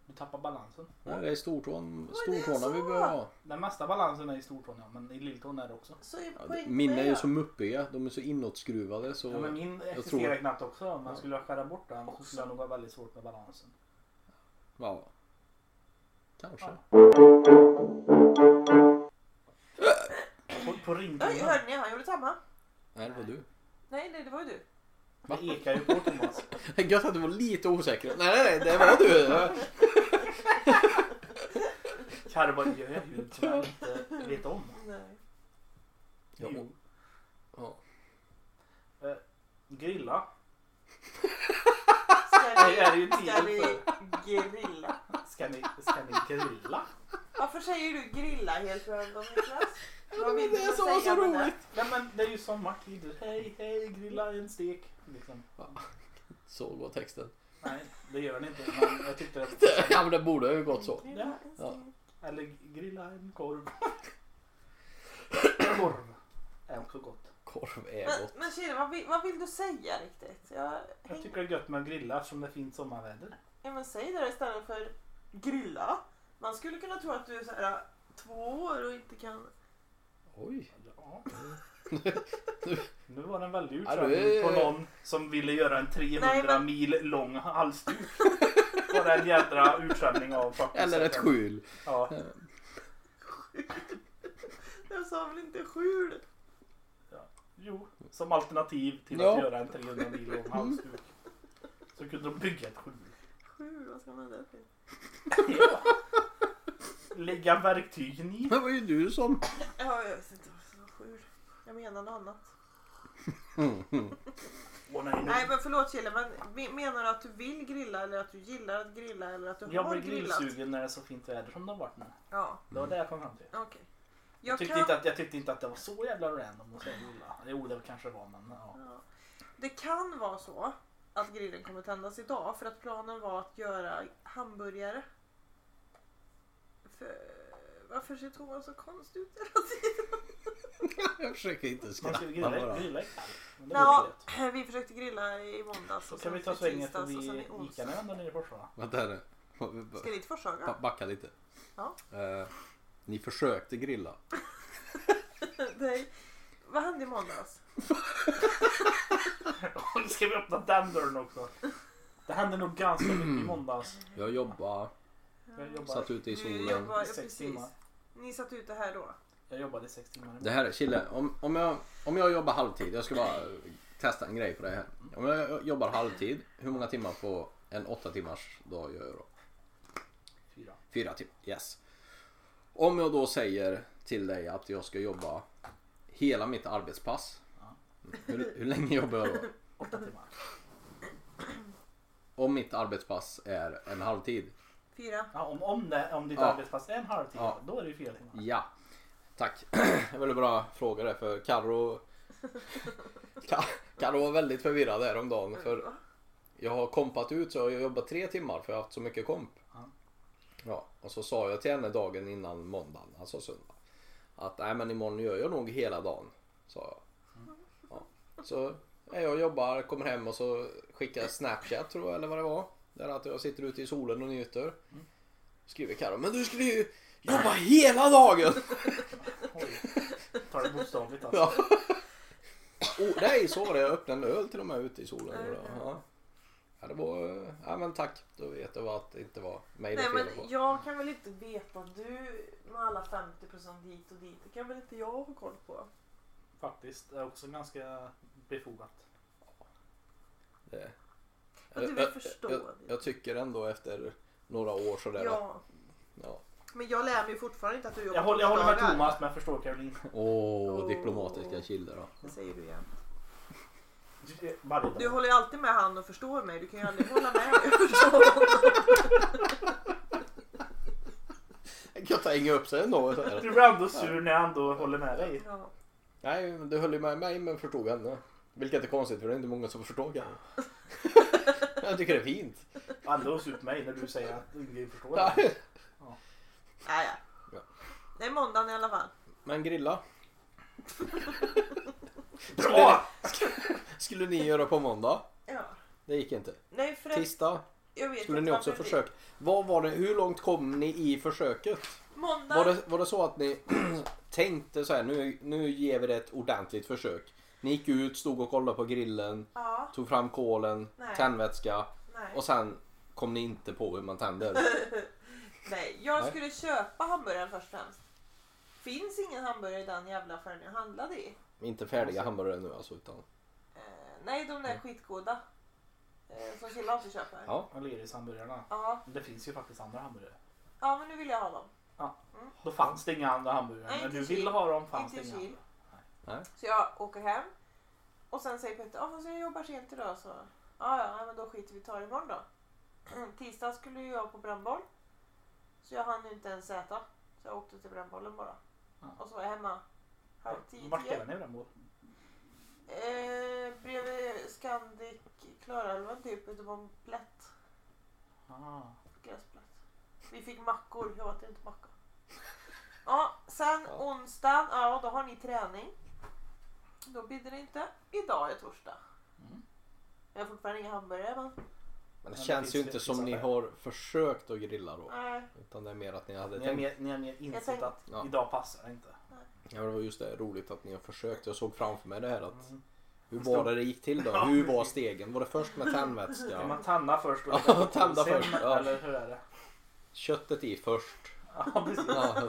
Du tappar balansen.
Nej, det är stortån,
det är
stortårna vi
så.
behöver ha.
Den mesta balansen är i stortån ja, men i lilltån är det också.
Så är
Ja, det-
poäng
Mina
med
är ju
det.
så muppiga, de är så inåtskruvade så...
Ja, men min
jag
existerar
tror-
knappt också. Men skulle jag skära bort den så
Också.
skulle jag nog ha väldigt svårt med balansen.
Ja. Kanske.
På, på ringtonen.
Oj, hörde ni? Han gjorde samma.
Nej, det var du.
Nej, nej, det var ju du.
Det ekar ju på Thomas.
Gött att du var lite osäker. Nej, nej, nej, det var du.
Karre bara gör jag ljud som jag inte vet om.
Nej.
Ja.
Jo.
Ja.
Eh, grilla.
Ska
Det är
vi,
ju
ska
tiden
vi
för.
grilla?
Ska ni, ska ni grilla?
Varför säger du grilla helt random Niklas? Vad
men
vill
det
du
är så-
säga
så
med det?
roligt.
Nej men det är ju sommartider. Hej hej grilla en stek. Liksom.
Så går texten.
Nej det gör ni inte. Men jag tyckte det
Ja, men det borde ju gått så.
Grilla en
Ja.
stek.
Eller grilla en korv. korv är också gott.
Korv är
Men,
gott.
men Kira, vad, vill- vad vill du säga riktigt? Jag,
Jag
häng,
tycker det är gött med att grilla eftersom det är fint sommarväder.
ja, men säg det istället för äh, grilla. Man skulle kunna tro att du är så här, två år och inte kan
Oj.
Ja. Nu var det en väldig
Ja, du
utsvävning
är-
på någon som ville göra en 300
Nej, men-
mil lång halsduk. Var det en jädra utskällning av faktiskt.
Eller ett skjul.
Ja.
Jag sa väl inte skjul?
Jo, som alternativ till
Ja.
att göra en 300 mil lång halsduk. Så kunde de bygga ett skjul.
Skjul, vad ska man det till?
Lägga verktygen i.
Det var ju du som...
Ja, jag vet inte vad som var skjul. Jag menar något annat.
Åh, nej, nu.
Nej men förlåt Kille, men me- menar du att du vill grilla eller att du gillar att grilla eller att du
Jag
har
blir
grillat?
grillsugen när det är så fint väder som det har varit nu.
Ja,
Det var det jag kom fram till.
okej.
Jag
Jag
tyckte,
kan...
inte att, jag tyckte inte att det var så jävla random att säga grilla. Jo, det kanske det var, men ja.
Ja. Det kan vara så att grillen kommer tändas idag för att planen var att göra hamburgare. För... Varför ser Thomas så konstig ut hela tiden?
Jag försöker inte
Man
skratta
ska ju grilla,
bara.
grilla ikväll. Men det
Ja, eh,
var gött.
vi försökte grilla i måndags
Så
och
kan
sen
vi ta
i
svängen
tisdags och sen
förbi
i onsdags.
Ica när vi är i Forsvara.
Vänta här
Ska
nu.
dit Forshaga?
Ba- Backa lite.
Ja.
Eh, ni försökte grilla.
Nej. Vad hände i måndags?
Nu ska vi öppna den dörren också. Det hände nog ganska mycket i måndags.
Jag jobbade,
Jag jobbade,
satt ute i
Du
solen.
jobbar- ja,
sex
precis.
timmar.
Ni satt ute här då?
jag jobbade i sex timmar.
Det här är Chille, om, om, jag, om jag jobbar halvtid, jag ska bara testa en grej på det här. Om jag jobbar halvtid, hur många timmar på en åtta timmars dag gör jag då?
Fyra.
Fyra timmar, yes. Om jag då säger till dig att jag ska jobba hela mitt arbetspass.
Ja.
Hur, hur länge jobbar jag då?
Åtta timmar.
Om mitt arbetspass är en halvtid.
Fyra?
Ja, om, om, det, om ditt
Ja.
arbetspass är en halvtimme,
Ja.
då är det ju fyra timmar.
Ja, tack. Det var en bra fråga där för Karo Ka- Karo var väldigt förvirrad häromdagen för
Va?
jag har kompat ut så jag har jobbat tre timmar för jag har haft så mycket komp.
Ja.
Ja, och så sa jag till henne dagen innan måndagen, alltså söndag. Att nej men imorgon gör jag nog hela dagen, sa jag. Ja. Så är jag och jobbar, kommer hem och så skickar jag Snapchat tror jag eller vad det var. Där att jag sitter ute i solen och njuter. Skriver Karo, men du skulle ju jobba hela dagen!
Oj. Tar det bokstavligt alltså.
Ja. Oh, nej, så var det. Jag öppnade en öl till och med ute i solen.
Ja, ja.
Ja. Ja, det var... Ja, men tack. Då vet jag vad att det inte var mig det
Nej
är fel på.
men jag kan väl inte veta du med alla 50% hit och dit. Det kan väl inte jag ha koll på?
Faktiskt. Det är också ganska befogat.
Det-
Men du
Jag-
vill
jag-
förstå
Jag,
det.
jag tycker ändå efter några år sådär. att-
Ja.
Ja.
Men jag lär mig fortfarande inte att du jobbar
Jag håller, jag håller med
torsdagar.
Thomas, men jag förstår Caroline.
Åh,
Åh.
diplomatiska kilder då.
Det säger du igen.
Varje
Du
dag.
håller ju alltid med han och förstår mig. Du kan ju aldrig hålla med och förstå honom.
Jag kan ta hänga upp sig ändå. så här.
Du blir ändå sur när jag ändå håller med dig.
Ja.
Nej, men du höll ju med mig men förstod henne. Vilket är konstigt för det är inte många som förstår henne. jag tycker det är fint.
Ändå sur på mig när du säger att ingen förstår
Ja.
dig.
Nej, ja.
Ja.
Det är måndagen i alla fall.
Men grilla.
Bra!
Skulle ni göra på måndag?
Ja.
Det gick inte.
Nej för att
Tisdag
jag vet
skulle
inte
ni också
varför vi-
försöka. Vad var det, hur långt kom ni i försöket?
Måndag.
Var det, var det så att ni tänkte så här, nu, nu ger vi det ett ordentligt försök? Ni gick ut, stod och kollade på grillen,
Ja.
tog fram kolen,
Nej.
tändvätska
Nej.
och sen kom ni inte på hur man tänder.
Nej, jag
Nej.
skulle köpa hamburgaren först och främst. Finns ingen hamburgare i den jävla affären jag handlade i.
inte färdiga hamburgare nu alltså utan...
Eh, nej, de där skitgoda. Eh, som Killa alltid köper.
Mm. Ja.
Aleris-hamburgarna.
Ja.
Det finns ju faktiskt andra hamburgare.
Ja, men nu vill jag ha dem.
Då fanns det inga andra hamburgare.
Nej,
När
inte
du
Kil.
ville ha dem fanns det
Inte
inga
Kil.
andra.
Nej.
Så jag åker hem. Och sen säger Petter, ja fast jag jobbar sent idag så. Ja, ja, nej, men då skiter vi i tar det imorgon då. Tisdag skulle ju jag på brännboll. Så jag hann ju inte ens äta. Så jag åkte till brännbollen bara.
Ja.
Och så var jag hemma halv tio,
Vart
tio.
spelar ni den mot?
Eh, bredvid Scandic Klarälven typ, ute på en plätt.
Ah.
Gräsplätt. Vi fick mackor, jag åt inte macka. Ja, sen
Ja.
onsdagen, ja då har ni träning. Då bidde det inte. Idag är torsdag.
Mm.
Jag har fortfarande inga hamburgare men
Men det
Men det
känns ju
finns-
inte
det
som
finns
ni
andra.
har försökt att grilla då.
Nej.
Utan det är mer att ni hade
Ni har
tänkt.
mer, ni har mer insett
tänkte-
att
Ja.
idag passar det inte.
Ja, det var just det, roligt att ni har försökt. Jag såg framför mig det här att
Mm.
hur var det det gick till då? Hur var stegen? Var det först med
Kan
tändvätska?
man tanna först? och-
Ja, tända
sen,
först, ja.
Eller hur är det?
Köttet i först?
Ja, precis.
Ja,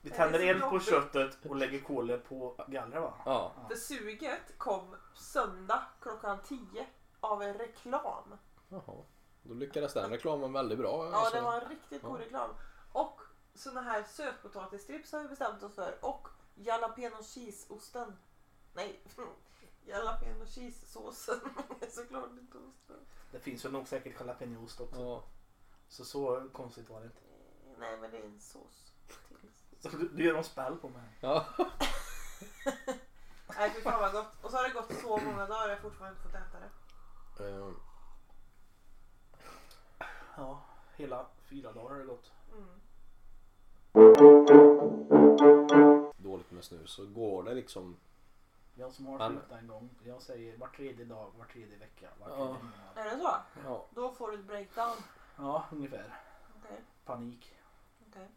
Vi tänder
Det är så
eld på
jobbigt.
köttet och lägger kolet på gallret va?
ja.
För suget kom söndag klockan 10 av en reklam.
Jaha. Då lyckades den reklamen väldigt bra.
Ja,
alltså.
det var en riktigt god
ja.
reklam. Och såna här sötpotatisstrips har vi bestämt oss för. Och jalapeno cheese-osten. Nej, jalapeno cheese-såsen. Såklart inte osten.
Det finns väl nog säkert jalapeñoost också.
Ja.
Så så konstigt var det inte.
Nej, men det är en sås. till.
Så du, du gör en spell på mig.
Ja.
Nej, fy fan vad gott. Och så har det gått så många dagar och jag har fortfarande inte fått äta det.
Ehm,
Ja, hela fyra dagar har det gått.
Mm.
Dåligt med snus. Så går det liksom.
Jag som har
Men-
slutat en gång. Jag säger var tredje dag, var tredje vecka, var
Ja.
tredje månad.
Är det så?
Ja.
Då får du ett breakdown.
Ja, ungefär.
Okej,
Panik.
okej.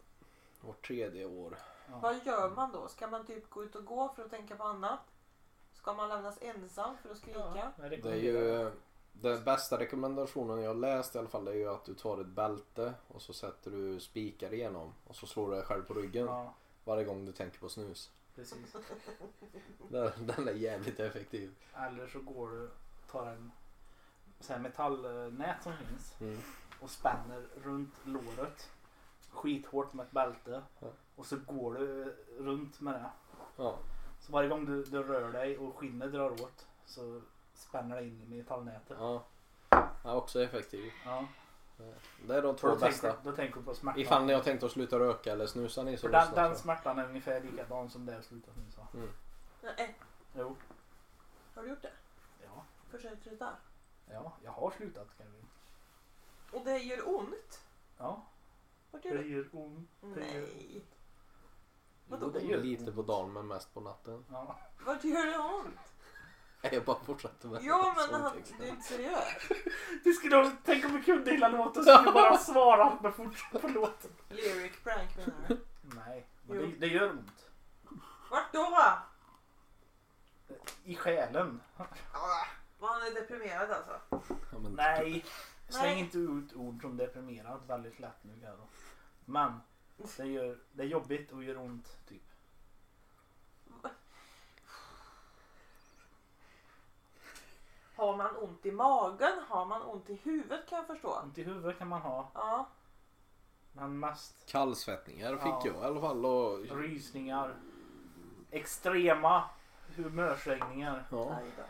Vart tredje år.
Vad gör man då? Ska man typ gå ut och gå för att tänka på annat? Ska man lämnas ensam för att skrika?
jag
Det är
rekommenderar det.
ju den bästa rekommendationen jag läst i alla fall det är ju att du tar ett bälte och så sätter du spikar igenom och så slår du dig själv på ryggen
Ja,
varje gång du tänker på snus.
precis.
Den, den är jävligt effektiv.
Eller så går du tar en så här metallnät som finns
Mm.
och spänner runt låret skithårt med ett bälte
Ja.
och så går du runt med det.
Ja.
Så varje gång du, du rör dig och skinnet drar åt så spänner det in i metallnätet.
ja. Ja, också effektiv.
Ja.
Det är de två
Då,
bästa.
tänker, då tänker du på smärtan.
Ifall ni har tänkt att sluta röka eller snusa ni så
För den,
lyssna
den
så. Mm.
smärtan är ungefär likadan som det jag slutat nu sa.
Nej, eh,
Jo.
har du gjort det?
Ja.
Försökt sluta?
Ja, jag har slutat Kevin.
Och det gör ont?
Ja.
Vad gör det?
gör ont.
Nej.
Jo,
Vadå?
det
gör
är lite
ont.
på dagen men mest på natten.
Ja.
Vart gör det ont?
Nej, Jag bara fortsätter med
Ja men han,
sångtexten.
du är inte seriös.
Du skulle också tänka om vi kunde hela låten så skulle bara svara med fortsätt på låten.
Lyric prank menar du?
Nej, men
Jo.
det, det gör ont.
Vart då?
I själen.
Ah, Man är deprimerad alltså.
Ja, men-
Nej, släng
Nej.
inte ut ord som deprimerad väldigt lätt nu. Garo. Men det, gör, det är jobbigt och gör ont typ.
Har man ont i magen? Har man ont i huvudet kan jag förstå?
Ont i huvudet kan man ha,
Ja.
men mest
Kallsvettningar fick
Ja.
jag i alla fall. Och...
rysningar, extrema humörsvängningar.
Ja.
Aj då.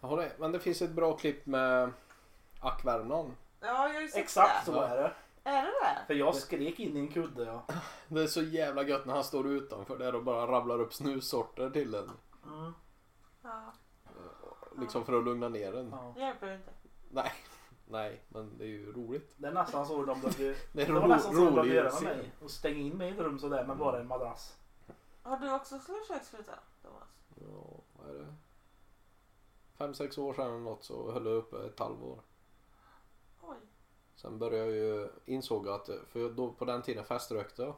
Jaha, det. Men det finns ett bra klipp med Ack Värmland.
Ja, jag har ju sett
Exakt
det.
så är det.
Är det det?
För jag skrek in i en kudde. Ja.
Det är så jävla gött när han står utanför där och bara rabblar upp snussorter till en.
Mm.
Ja.
Liksom för att lugna ner en.
Ja.
Det hjälper inte.
Nej, nej, men det är ju roligt.
Det är nästan så de behövde,
Det är
det var
ro-
nästan så de behövde
rolig
göra med
scen.
mig. Och stänga in mig i ett rum sådär med bara en madrass.
Har du också försökt sluta Thomas?
Ja, vad är det? Fem, sex år sedan eller något så höll jag uppe ett halvår.
Oj.
Sen började jag ju insåg att, för jag då, på den tiden feströkte jag.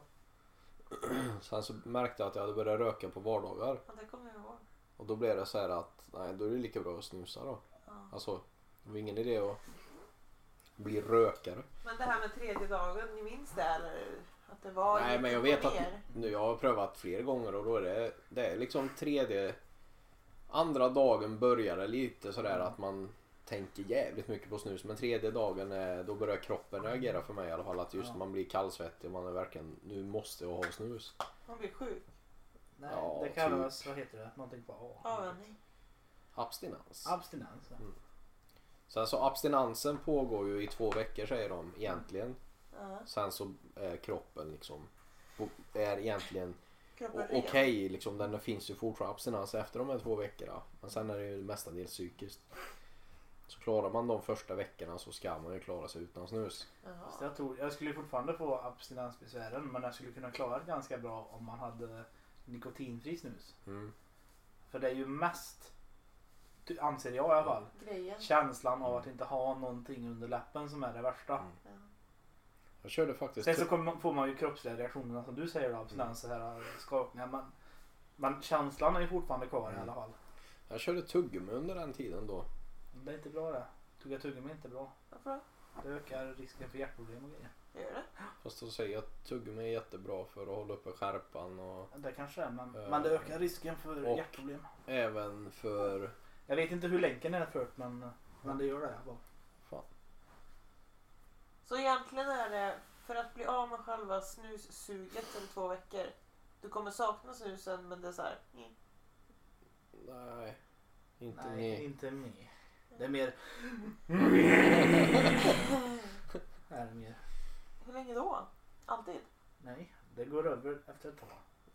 Sen så märkte jag att jag hade börjat röka på vardagar.
Ja, det kommer jag ihåg.
Och då blev det så här att, nej då är det lika bra att snusa då.
Ja.
Alltså, det var ingen idé att bli rökare.
Men det här med tredje dagen, ni minns det eller? Att det var
Nej
lite
men jag
på
vet att
er?
nu, jag har prövat fler gånger och då är det, det är liksom tredje, andra dagen börjar det lite sådär att man tänker jävligt mycket på snus men tredje dagen eh, då börjar kroppen reagera för mig i alla fall att just
Ja.
man blir kallsvettig och man är verkligen nu måste jag ha snus.
Man blir sjuk.
Nej,
Ja,
det
typ.
kallas, vad heter det, någonting på A.
Avvänjning.
Abstinens.
Abstinens. ja.
Sen så abstinensen pågår ju i två veckor säger de egentligen.
Ja.
Sen så är kroppen liksom är egentligen
Kroppen
O-
ren.
Okej, liksom, den finns ju fortfarande abstinens efter de här två veckorna. Men sen är det ju mestadels psykiskt. Så klarar man de första veckorna så ska man ju klara sig utan snus.
Jaha.
Så jag, tror, jag skulle fortfarande få abstinensbesvären men jag skulle kunna klara det ganska bra om man hade nikotinfri snus.
Mm.
För det är ju mest ty- anser jag i alla fall.
Grejen.
Känslan av att inte ha någonting under läppen som är det värsta.
Mm.
Ja.
Jag körde faktiskt...
Sen så kommer man, får man ju kroppsliga reaktioner som du säger då, abstinens, så här skakningar. Men, men känslan är ju fortfarande kvar i alla fall.
Jag körde tuggummi under den tiden då.
Det är inte bra det. Tugga tuggummi är inte bra.
Varför då?
Det ökar risken för hjärtproblem och grejer.
Gör det?
Fast de säger att tuggummi är jättebra för att hålla uppe skärpan och
Det kanske det är, men,
Eh,
men det ökar risken för
och-
hjärtproblem.
även för...
Jag vet inte hur länken är fört, men, men det gör det. i alla fall.
Så egentligen är det för att bli av med själva snussuget om två veckor. Du kommer sakna snusen men det är såhär. Mm.
Nej. Inte
Nej,
ni.
inte mig. Det är mer... är det mer.
Hur länge då? Alltid?
Nej, det går över efter ett tag.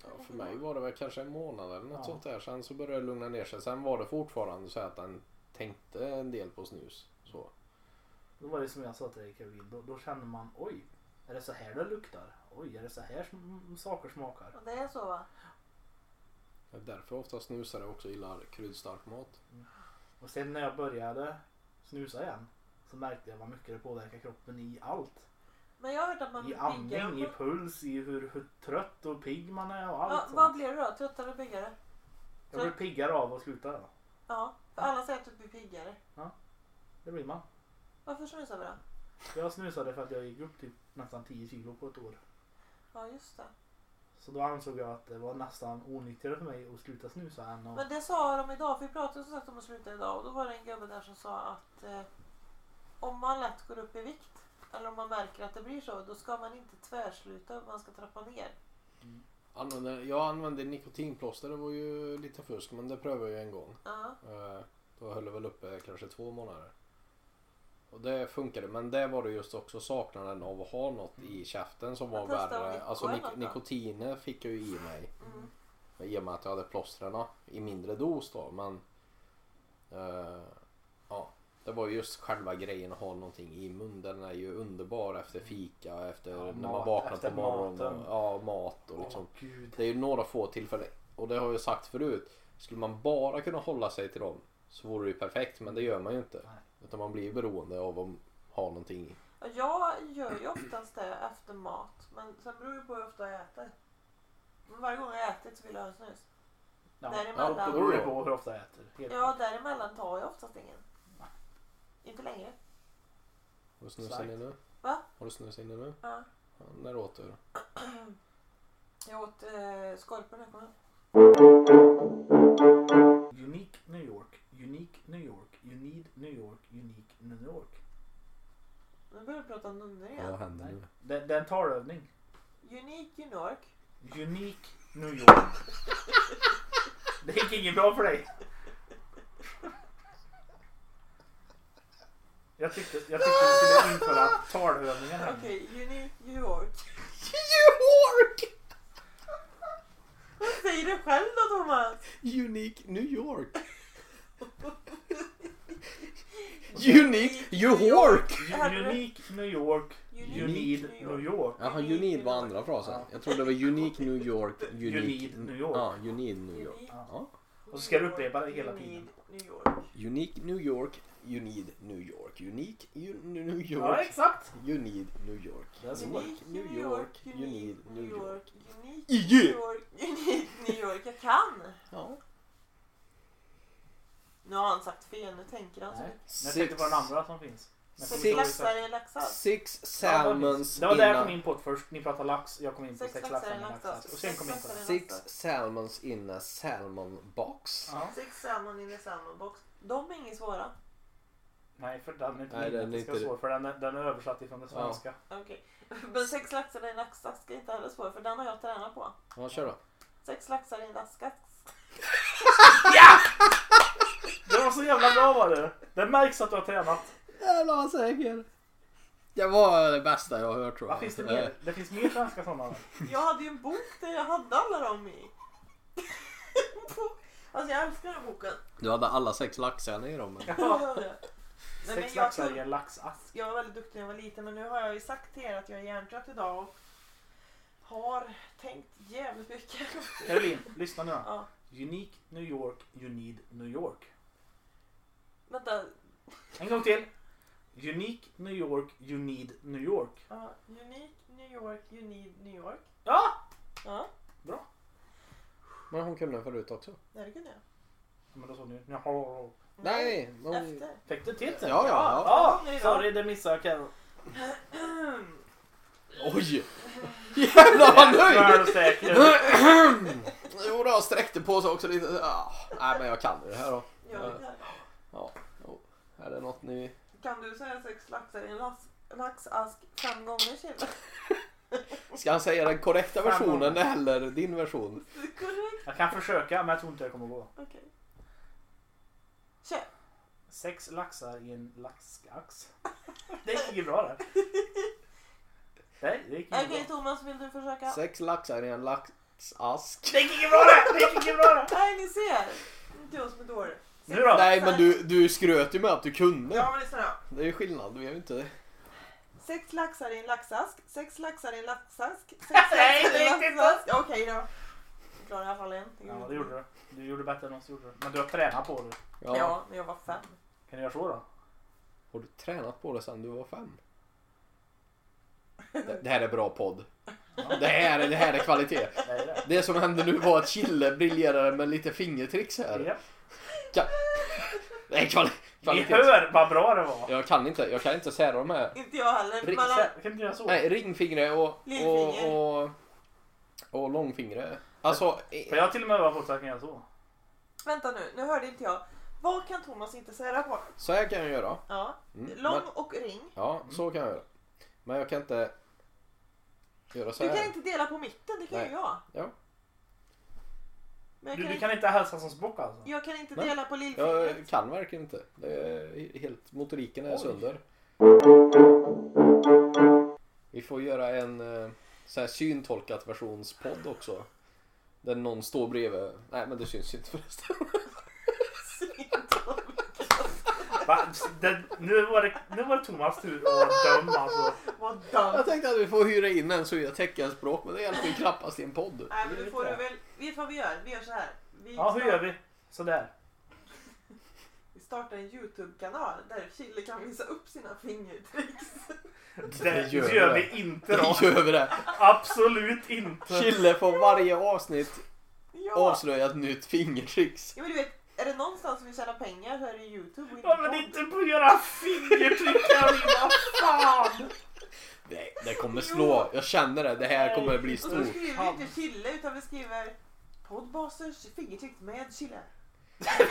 Ja, för mig var det väl kanske en månad eller något
Ja.
sånt där. Sen så började det lugna ner sig. Sen var det fortfarande så att den tänkte en del på snus. Så.
Då var det som jag sa till dig Caroline, då, då känner man oj, är det så här det luktar? Oj, är det så här som saker smakar?
Ja, Det är så va?
Det är därför ofta snusare också gillar kryddstark mat.
Och sen när jag började snusa igen så märkte jag vad mycket det påverkar kroppen i allt.
Men jag har hört att man
I
blir piggare.
andning, i
på-
puls, i hur, hur trött och pigg man är och allt
Ja,
sånt.
vad blir du då? Tröttare och piggare?
Jag blir piggare av att sluta. då.
Ja, för alla säger att du blir piggare.
Det blir man.
Varför snusar vi då?
Jag snusade för att jag gick upp typ nästan 10 kilo på ett år.
Ja just det.
Så då ansåg jag att det var nästan onyttigare för mig att sluta snusa än att...
Men det sa de idag, för vi pratade som sagt om att sluta idag och då var det en gubbe där som sa att eh, om man lätt går upp i vikt eller om man märker att det blir så, då ska man inte tvärsluta, man ska trappa ner.
Använde, jag använde nikotinplåster. Det var ju lite fusk men det prövade jag ju en gång.
Ja,
Eh, Då höll det väl uppe kanske två månader. Och det funkade men det var det just också saknaden av att ha något i käften som var
Jag testade
värre.
Niko
Alltså
eller
nik-
något då.
nikotiner fick jag ju i mig.
mm.
I och med att jag hade plåstren i mindre dos då men eh, ja, det var ju just själva grejen att ha någonting i munnen. Den är ju underbar efter fika, efter
Ja,
när man
mat,
vaknar
efter
på morgonen.
maten.
Och, ja, mat och liksom.
Åh, gud.
Det är ju några få tillfällen och det har jag sagt förut. Skulle man bara kunna hålla sig till dem så vore det ju perfekt men det gör man ju inte.
Nej.
Utan man blir ju beroende av att ha någonting.
Ja, Jag gör ju oftast det efter mat, men sen beror det på hur ofta jag äter. Men varje gång jag ätit så vill jag ha en snus.
Ja.
Däremellan.
Då beror det på hur ofta jag äter. Helt
Ja, däremellan tar jag oftast ingen. Inte längre.
Har du snus inne nu?
Va?
Har du snus inne nu?
Ja.
Ja, när åt du?
Jag åt eh, skorpor när jag kom hem.
Unique New York, unique New York, you need New York, unique New York.
Nu börjar vi prata nunnor
Vad
igen.
händer
Nej.
nu?
Det, det är en talövning.
Unique New York.
Unique New York. Det gick inget bra för dig. Jag tyckte, jag tyckte vi skulle införa talövningen här.
Okej, Unique New York.
York!
Vad säger du själv då Thomas?
Unique New York! Unique New York!
Hörde du?
Unique New York, you need New York.
Jaha, you need var andra frasen. Jag trodde det var Unique New York, Unique...
need New York.
Ja, you need New York.
Unique
Ja.
Och så ska du upprepa det hela
New
tiden.
York, New York.
Unique New York, you need New York. Unique you, New
Ja,
York,
exakt.
you need Alltså, New York.
Det är så.
Unique New York.
you need New York.
Unique
Yeah.
New York. Unique New York. Jag kan!
Ja.
Nu har han sagt fel, nu tänker han så
Nej,
mycket.
men jag tänkte på den
Six,
andra som finns. Men jag kommer
Sex
Six.
inte ihåg
laxar
exakt.
i laxar.
six
Ja,
salmons
Det var där jag kom
in
in på det först. Ni pratade lax, jag kom in på
Sex
sex
laxar i
laxar
en
med
laxar.
laxar. Och sen kom jag in på
a,
det.
six salmons in a salmon box.
Ja.
Sex salmon in a salmon box. De är inget svåra.
Nej, för den är inte
Nej,
Nej,
den är
den
inte-
svår, för den är, den är översatt ifrån det svenska.
Okej. Men sex laxar i en laxask är inte heller svår för den har jag tränat på.
Ja, kör då.
Sex laxar i en laxask.
Det var så jävla bra var det! Det märks att du har tränat.
Jävlar vad säker. Det var det bästa jag har hört tror jag.
Vad finns det
Eh,
mer? Det finns mer svenska sådana.
Jag hade ju en bok där jag hade alla dem i. En bok. Alltså jag älskar den boken.
Du hade alla sex laxar i dem.
Ja.
Nej, men
Sex
jag
laxar
kunde-
i en laxask.
jag var väldigt duktig när jag var liten men nu har jag ju sagt till er att jag är hjärntrött idag och har tänkt jävligt mycket.
Caroline, lyssna nu.
Ja.
Unique New York, you need New York.
Vänta.
En gång till. Unique New York, you need New York.
Uh, unique New York, you need New York.
Ja!
Ja,
Men hon kunde den förut också.
nej det kunde jag.
Men då sa ni jaha.
Nej, hon...
Efter.
Fick du titeln?
Ja, ja, ja.
Ja,
Nu då.
sorry det missade jag Carro. Mm.
Oj! Jävlar vad nöjd!
Tvärsäker.
Jo då, sträckte på sig också lite. Ah, nej men jag kan det här då.
Gör det här.
Är det något ni...
Kan du säga sex laxar i en las- laxask fem gånger till?
Ska han säga den korrekta
Fan,
versionen
vad-
eller din version?
Korrekt.
Jag kan försöka men jag tror inte det kommer gå.
Okej. Kör.
Sex laxar i en laxax. Det gick inget bra där. Nej, det gick
Okej
inget bra.
Thomas, vill du försöka?
Sex laxar i en laxask.
Det gick inget bra där! Det gick inget bra där!
Nej, ni ser. Inte jag som är dålig.
Nu då?
Nej men du, du skröt ju med att du kunde.
Ja, men lyssna då.
Det är ju skillnad, vi är ju inte...
Sex laxar i en laxask, sex laxar i en laxask, sex
Nej,
laxar i
det är
en
inte
laxask. Ja, Okej då. Jag klarade i alla fall en.
Ja, det gjorde du. Du gjorde bättre än oss. Gjorde du. Men du har tränat på det.
Ja.
Ja, men jag var fem.
Kan du göra så då?
Har du tränat på det sen du var fem? Det, det här är bra podd. Det här, är- det här är kvalitet.
Nej, det är
Det som hände nu var att Chille briljerade med lite fingertricks
det.
här.
Ja.
Det är kvali-
Ni
kvalitet.
hör vad bra det var.
Jag kan inte, jag kan inte säga de här.
Inte jag heller.
Riks-
Men han,
Kan du göra så?
Nej, ringfingre och,
Lillfinger.
och, och, och långfingre. Alltså, eh,
För jag har till och med varit folk som kan göra så.
vänta nu, nu hörde inte jag. Vad kan Thomas inte säga på?
så här kan jag göra.
Ja,
Mm,
lång
men-
och ring.
Ja, så kan jag göra. Men jag kan inte göra så
Du kan
här.
inte dela på mitten, det kan ju
Nej.
jag.
Ja.
Men jag
Du,
kan,
du
inte,
kan inte hälsa som spock alltså?
jag kan inte
Nej.
dela på
Jag
lillfingret.
kan verkligen inte. Det är helt, motoriken är
Oj.
sönder. Vi får göra en eh, så här syntolkat versionspodd också. Där någon står bredvid. Nej men det syns ju inte förresten.
Va? Det, nu, var det, nu var det Thomas tur att döma alltså.
Vad dumt.
Jag tänkte att vi får hyra in en som gör teckenspråk men det hjälper ju knappast i en podd.
Nej, men
Det är
du får du
lite-
väl... Vet du vad vi gör? Vi gör så här. Vi,
Ja, hur
startar-
gör vi? Sådär.
vi startar en YouTube-kanal där Chille kan visa upp sina fingertricks.
Det
gör
gör,
det.
vi inte då.
Det gör vi det.
Absolut inte.
Chille får varje avsnitt
Ja.
avslöja ett nytt fingertricks.
ja, men du vet, är det någonstans vi tjänar pengar så är det YouTube och inte
Ja, men
podd.
inte på era fingertryck Karolina. Fan!
Nej, det kommer slå. Jag känner det. Det här kommer bli
Och då
stort.
skriver vi
Fan.
inte Chille utan vi skriver Poddbasers fingertrick med Chille.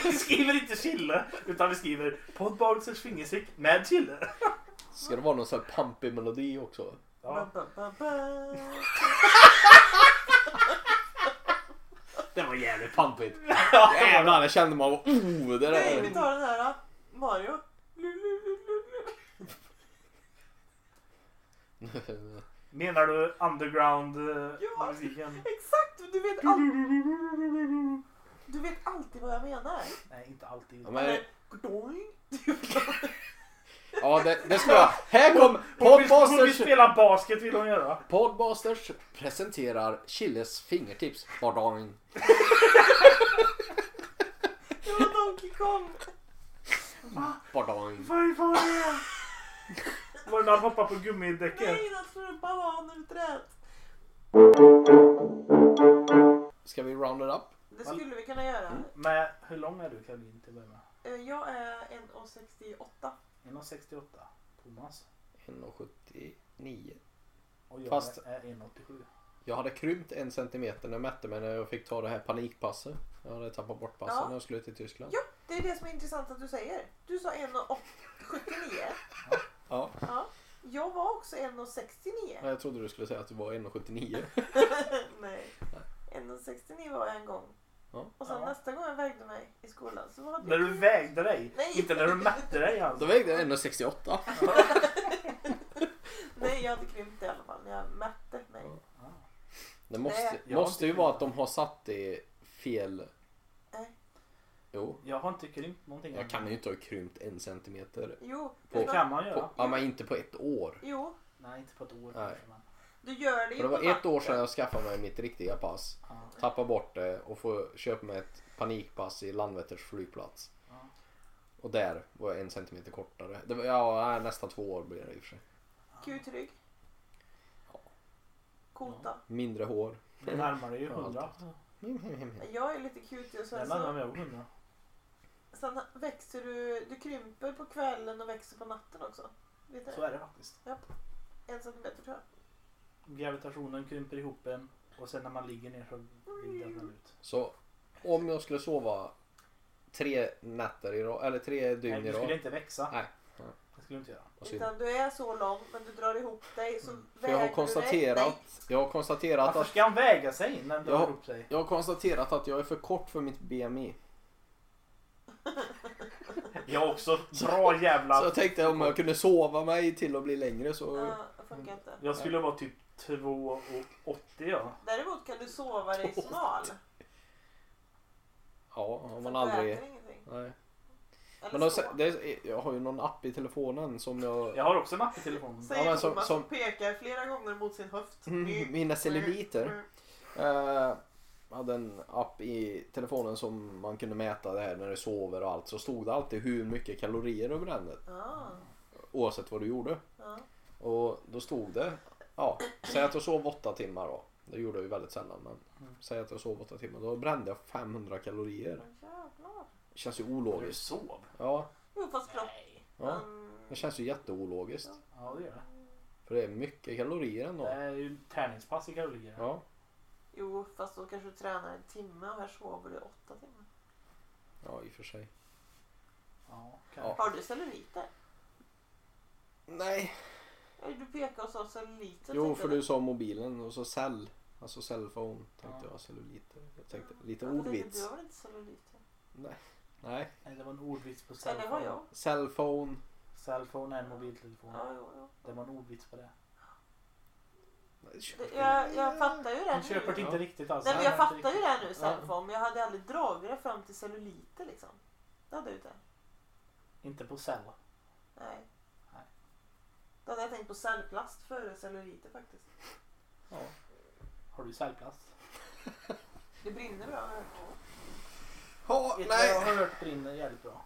Vi skriver inte chille, utan vi skriver poddbagelsers fingertryck med chille.
Ska det vara någon sån här pampig melodi också?
Ja.
Ba, ba, ba, ba.
Det var jävligt pampigt. Jävlar, det kände man. Oh, det
Nej, vi
där.
tar den här då. Mario. Lu, lu, lu, lu, lu.
Menar du eh,
Ja.
underground-musiken?
Exakt! Du vet, all... du vet alltid vad jag menar.
Nej, inte alltid.
Ja, men,
Gdoing.
ja det, det ska jag. Här kom
Hon vill, hon vill
Podbusters.
spela basket vill hon göra.
Podbusters presenterar Chilles fingertips. Vardagen.
Det var Donkey Kong.
Vardagen.
Vad var det? Var det när han hoppade på gummidäcken?
Nej, han slår upp bananer ur träd.
Ska vi round it up?
Det skulle vi kunna göra.
Men hur lång är du Caroline till att börja med?
Eh, Jag är 1,68.
1,68. Thomas.
1,79.
Och jag
Fast-
är 1,87.
Jag hade krympt en centimeter när jag mätte mig när jag fick ta det här panikpasset. Jag hade tappat bort passet
Ja.
när jag skulle till Tyskland.
Ja, det är det som är intressant att du säger. Du sa 1,79.
Ja.
Ja. Jag var också 1,69.
Nej, Jag trodde du skulle säga att du var 1,79.
Nej. 1,69 var jag en gång.
Ja.
Och sen
Ja.
nästa gång jag vägde mig i skolan så var
När
det...
du vägde dig?
Nej.
Inte när du mätte dig
Då
alltså.
vägde jag 1,68.
Nej, jag hade krympt i alla fall när jag mätte mig.
Det måste,
Nej.
måste ju vara att de har satt det fel.
Nej.
Jo,
Jag har inte krympt någonting.
jag kan ju inte ha krympt en centimeter.
Jo,
Det
vet du vad?
kan man göra.
På, ja, men inte på ett år.
jo,
Nej, inte på ett år
Nej.
kanske. Men...
du gör det ju
För det
på
var ett år
natten.
sedan jag skaffade mig mitt riktiga pass.
Ja.
Tappade bort det och får köpa mig ett panikpass i Landvetters flygplats. Och där var jag en centimeter kortare. Det var, ja, nej, nästan två år blir det i och för sig.
Kutrygg. Kota.
Mindre hår.
Det närmar dig ju 100.
Jag är lite kutig
Det
och sen
närmar
så...
mig 100.
Sen växer du... Du krymper på kvällen och växer på natten också. Vet du
Så
det?
är det faktiskt.
En centimeter tror jag.
Gravitationen krymper ihop en och sen när man ligger ner så vill den ut.
Så om jag skulle sova tre nätter i rad, eller tre
Nej,
dygn i
du skulle
rad.
inte växa.
Nej. Nej.
Det skulle du inte göra.
Vad synd.
Utan du är så lång men du drar ihop dig så
För jag har
väger du dig- Nej,
konstaterat, jag har konstaterat
Varför
att
ska han väga sig när han drar
Ja.
ihop sig?
jag har konstaterat att jag är för kort för mitt BMI.
Jag också. Bra
Så
jävla...
jag tänkte om jag kunde sova mig till att bli längre så...
Ja, det funkar inte.
Jag skulle vara typ 2,80 jag.
Däremot kan du sova dig smal.
Ja, om man
Så att du
aldrig...
äter ingenting.
Nej.
Eller
Men då,
sova.
det, är- jag har ju någon app i telefonen som jag...
Jag har också en app i telefonen.
Säger
Ja, men som-
Thomas som,
som-
pekar flera gånger mot sin höft.
Mm, Mina celluliter.
Mm.
Eh, hade en app i telefonen som man kunde mäta det här när du sover och allt. Så stod det alltid hur mycket kalorier du brände.
Ah,
Oavsett vad du gjorde.
ja.
Och då stod det. Ja, säg att jag sov åtta timmar då. Det gjorde jag ju väldigt sällan. Men säg att jag sov åtta timmar. Då brände jag 500 kalorier.
Men jävlar.
Känns ju
Du
ologiskt.
sov?
Ja,
Jo fast kropp.
ja.
Mm,
Det känns ju jätteologiskt.
Ja, det gör det.
För det är mycket kalorier
Det
ändå.
är ju tärningspass i kalorier.
Ja,
jo fast då kanske du tränar en timme och här sover du åtta timmar.
ja i och för sig.
Ja, okej.
Ja.
Har du celluliter?
Nej.
Ja, Du pekar och sa celluliter.
Jo,
tänkte
för
jag.
du sa mobilen och så cell. Alltså cellphone tänkte jag. Celluliter. Jag tänkte lite
Ja, men tänkte, Du
ordvits.
har väl inte celluliter?
Nej.
Nej, det var en ordvits på
Eller har
cellphone.
jag?
Cellphone.
Cellphone är en mobiltelefon.
Ja, jo, jo.
Det var en ordvits på det.
Det, jag, jag fattar ju det
Han köper det
nu.
inte riktigt alls.
Nej, men jag
Han är
fattar ju
inte
det nu cellphone. Men jag hade aldrig dragit det fram till celluliter liksom. Det hade jag inte.
riktigt- Inte på cell.
Nej.
Nej.
Då hade jag tänkt på cellplast före celluliter faktiskt.
Ja. Har du cellplast?
Det brinner bra. här.
Ja,
Vet du vad jag
nej.
har hört brinner jävligt bra?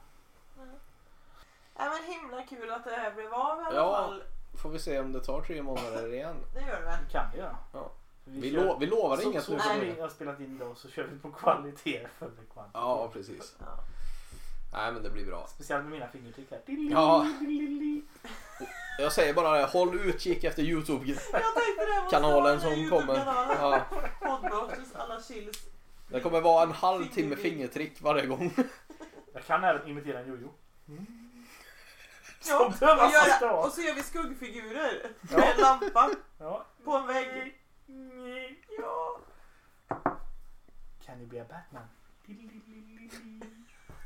Nej men himla kul att det här blev av i alla
Ja.
fall.
Får vi se om det tar tre månader igen.
Det gör det väl.
Det kan vi göra.
Ja.
Vi,
Vi,
kör-
lo- vi lovar
så,
inget
så
nu.
som
för
vi
tiden.
har spelat in då så kör vi på kvalitet före kvantitet.
Ja, precis.
Ja.
Nej, men det blir bra.
Speciellt med mina fingertryck här.
Ja. Jag säger bara det. Håll utkik efter Youtube-kanalen
Jag tänkte det. måste vara
som
den här
kommer.
YouTube-kanalen.
Ja,
Poddbrotters alla chills.
det kommer vara en halvtimme fingertrick varje gång.
Jag kan även imitera en jojo.
Ja,
Som det var
och, göra-
första.
och så gör vi skuggfigurer med en lampa
Ja.
på en vägg.
Ja. Can you be a Batman?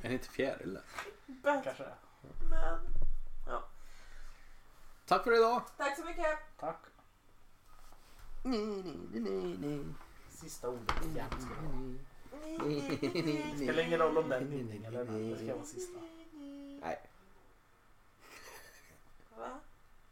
Är det inte fjäril?
Kanske
Batman.
det.
Tack för idag.
Tack så mycket.
Tack. Sista ordet. Jävligt ska det vara.
Ni, ni, ni, ni.
Spelar ingen roll om den är ninning eller nej. Det ska vara sista.
Nej.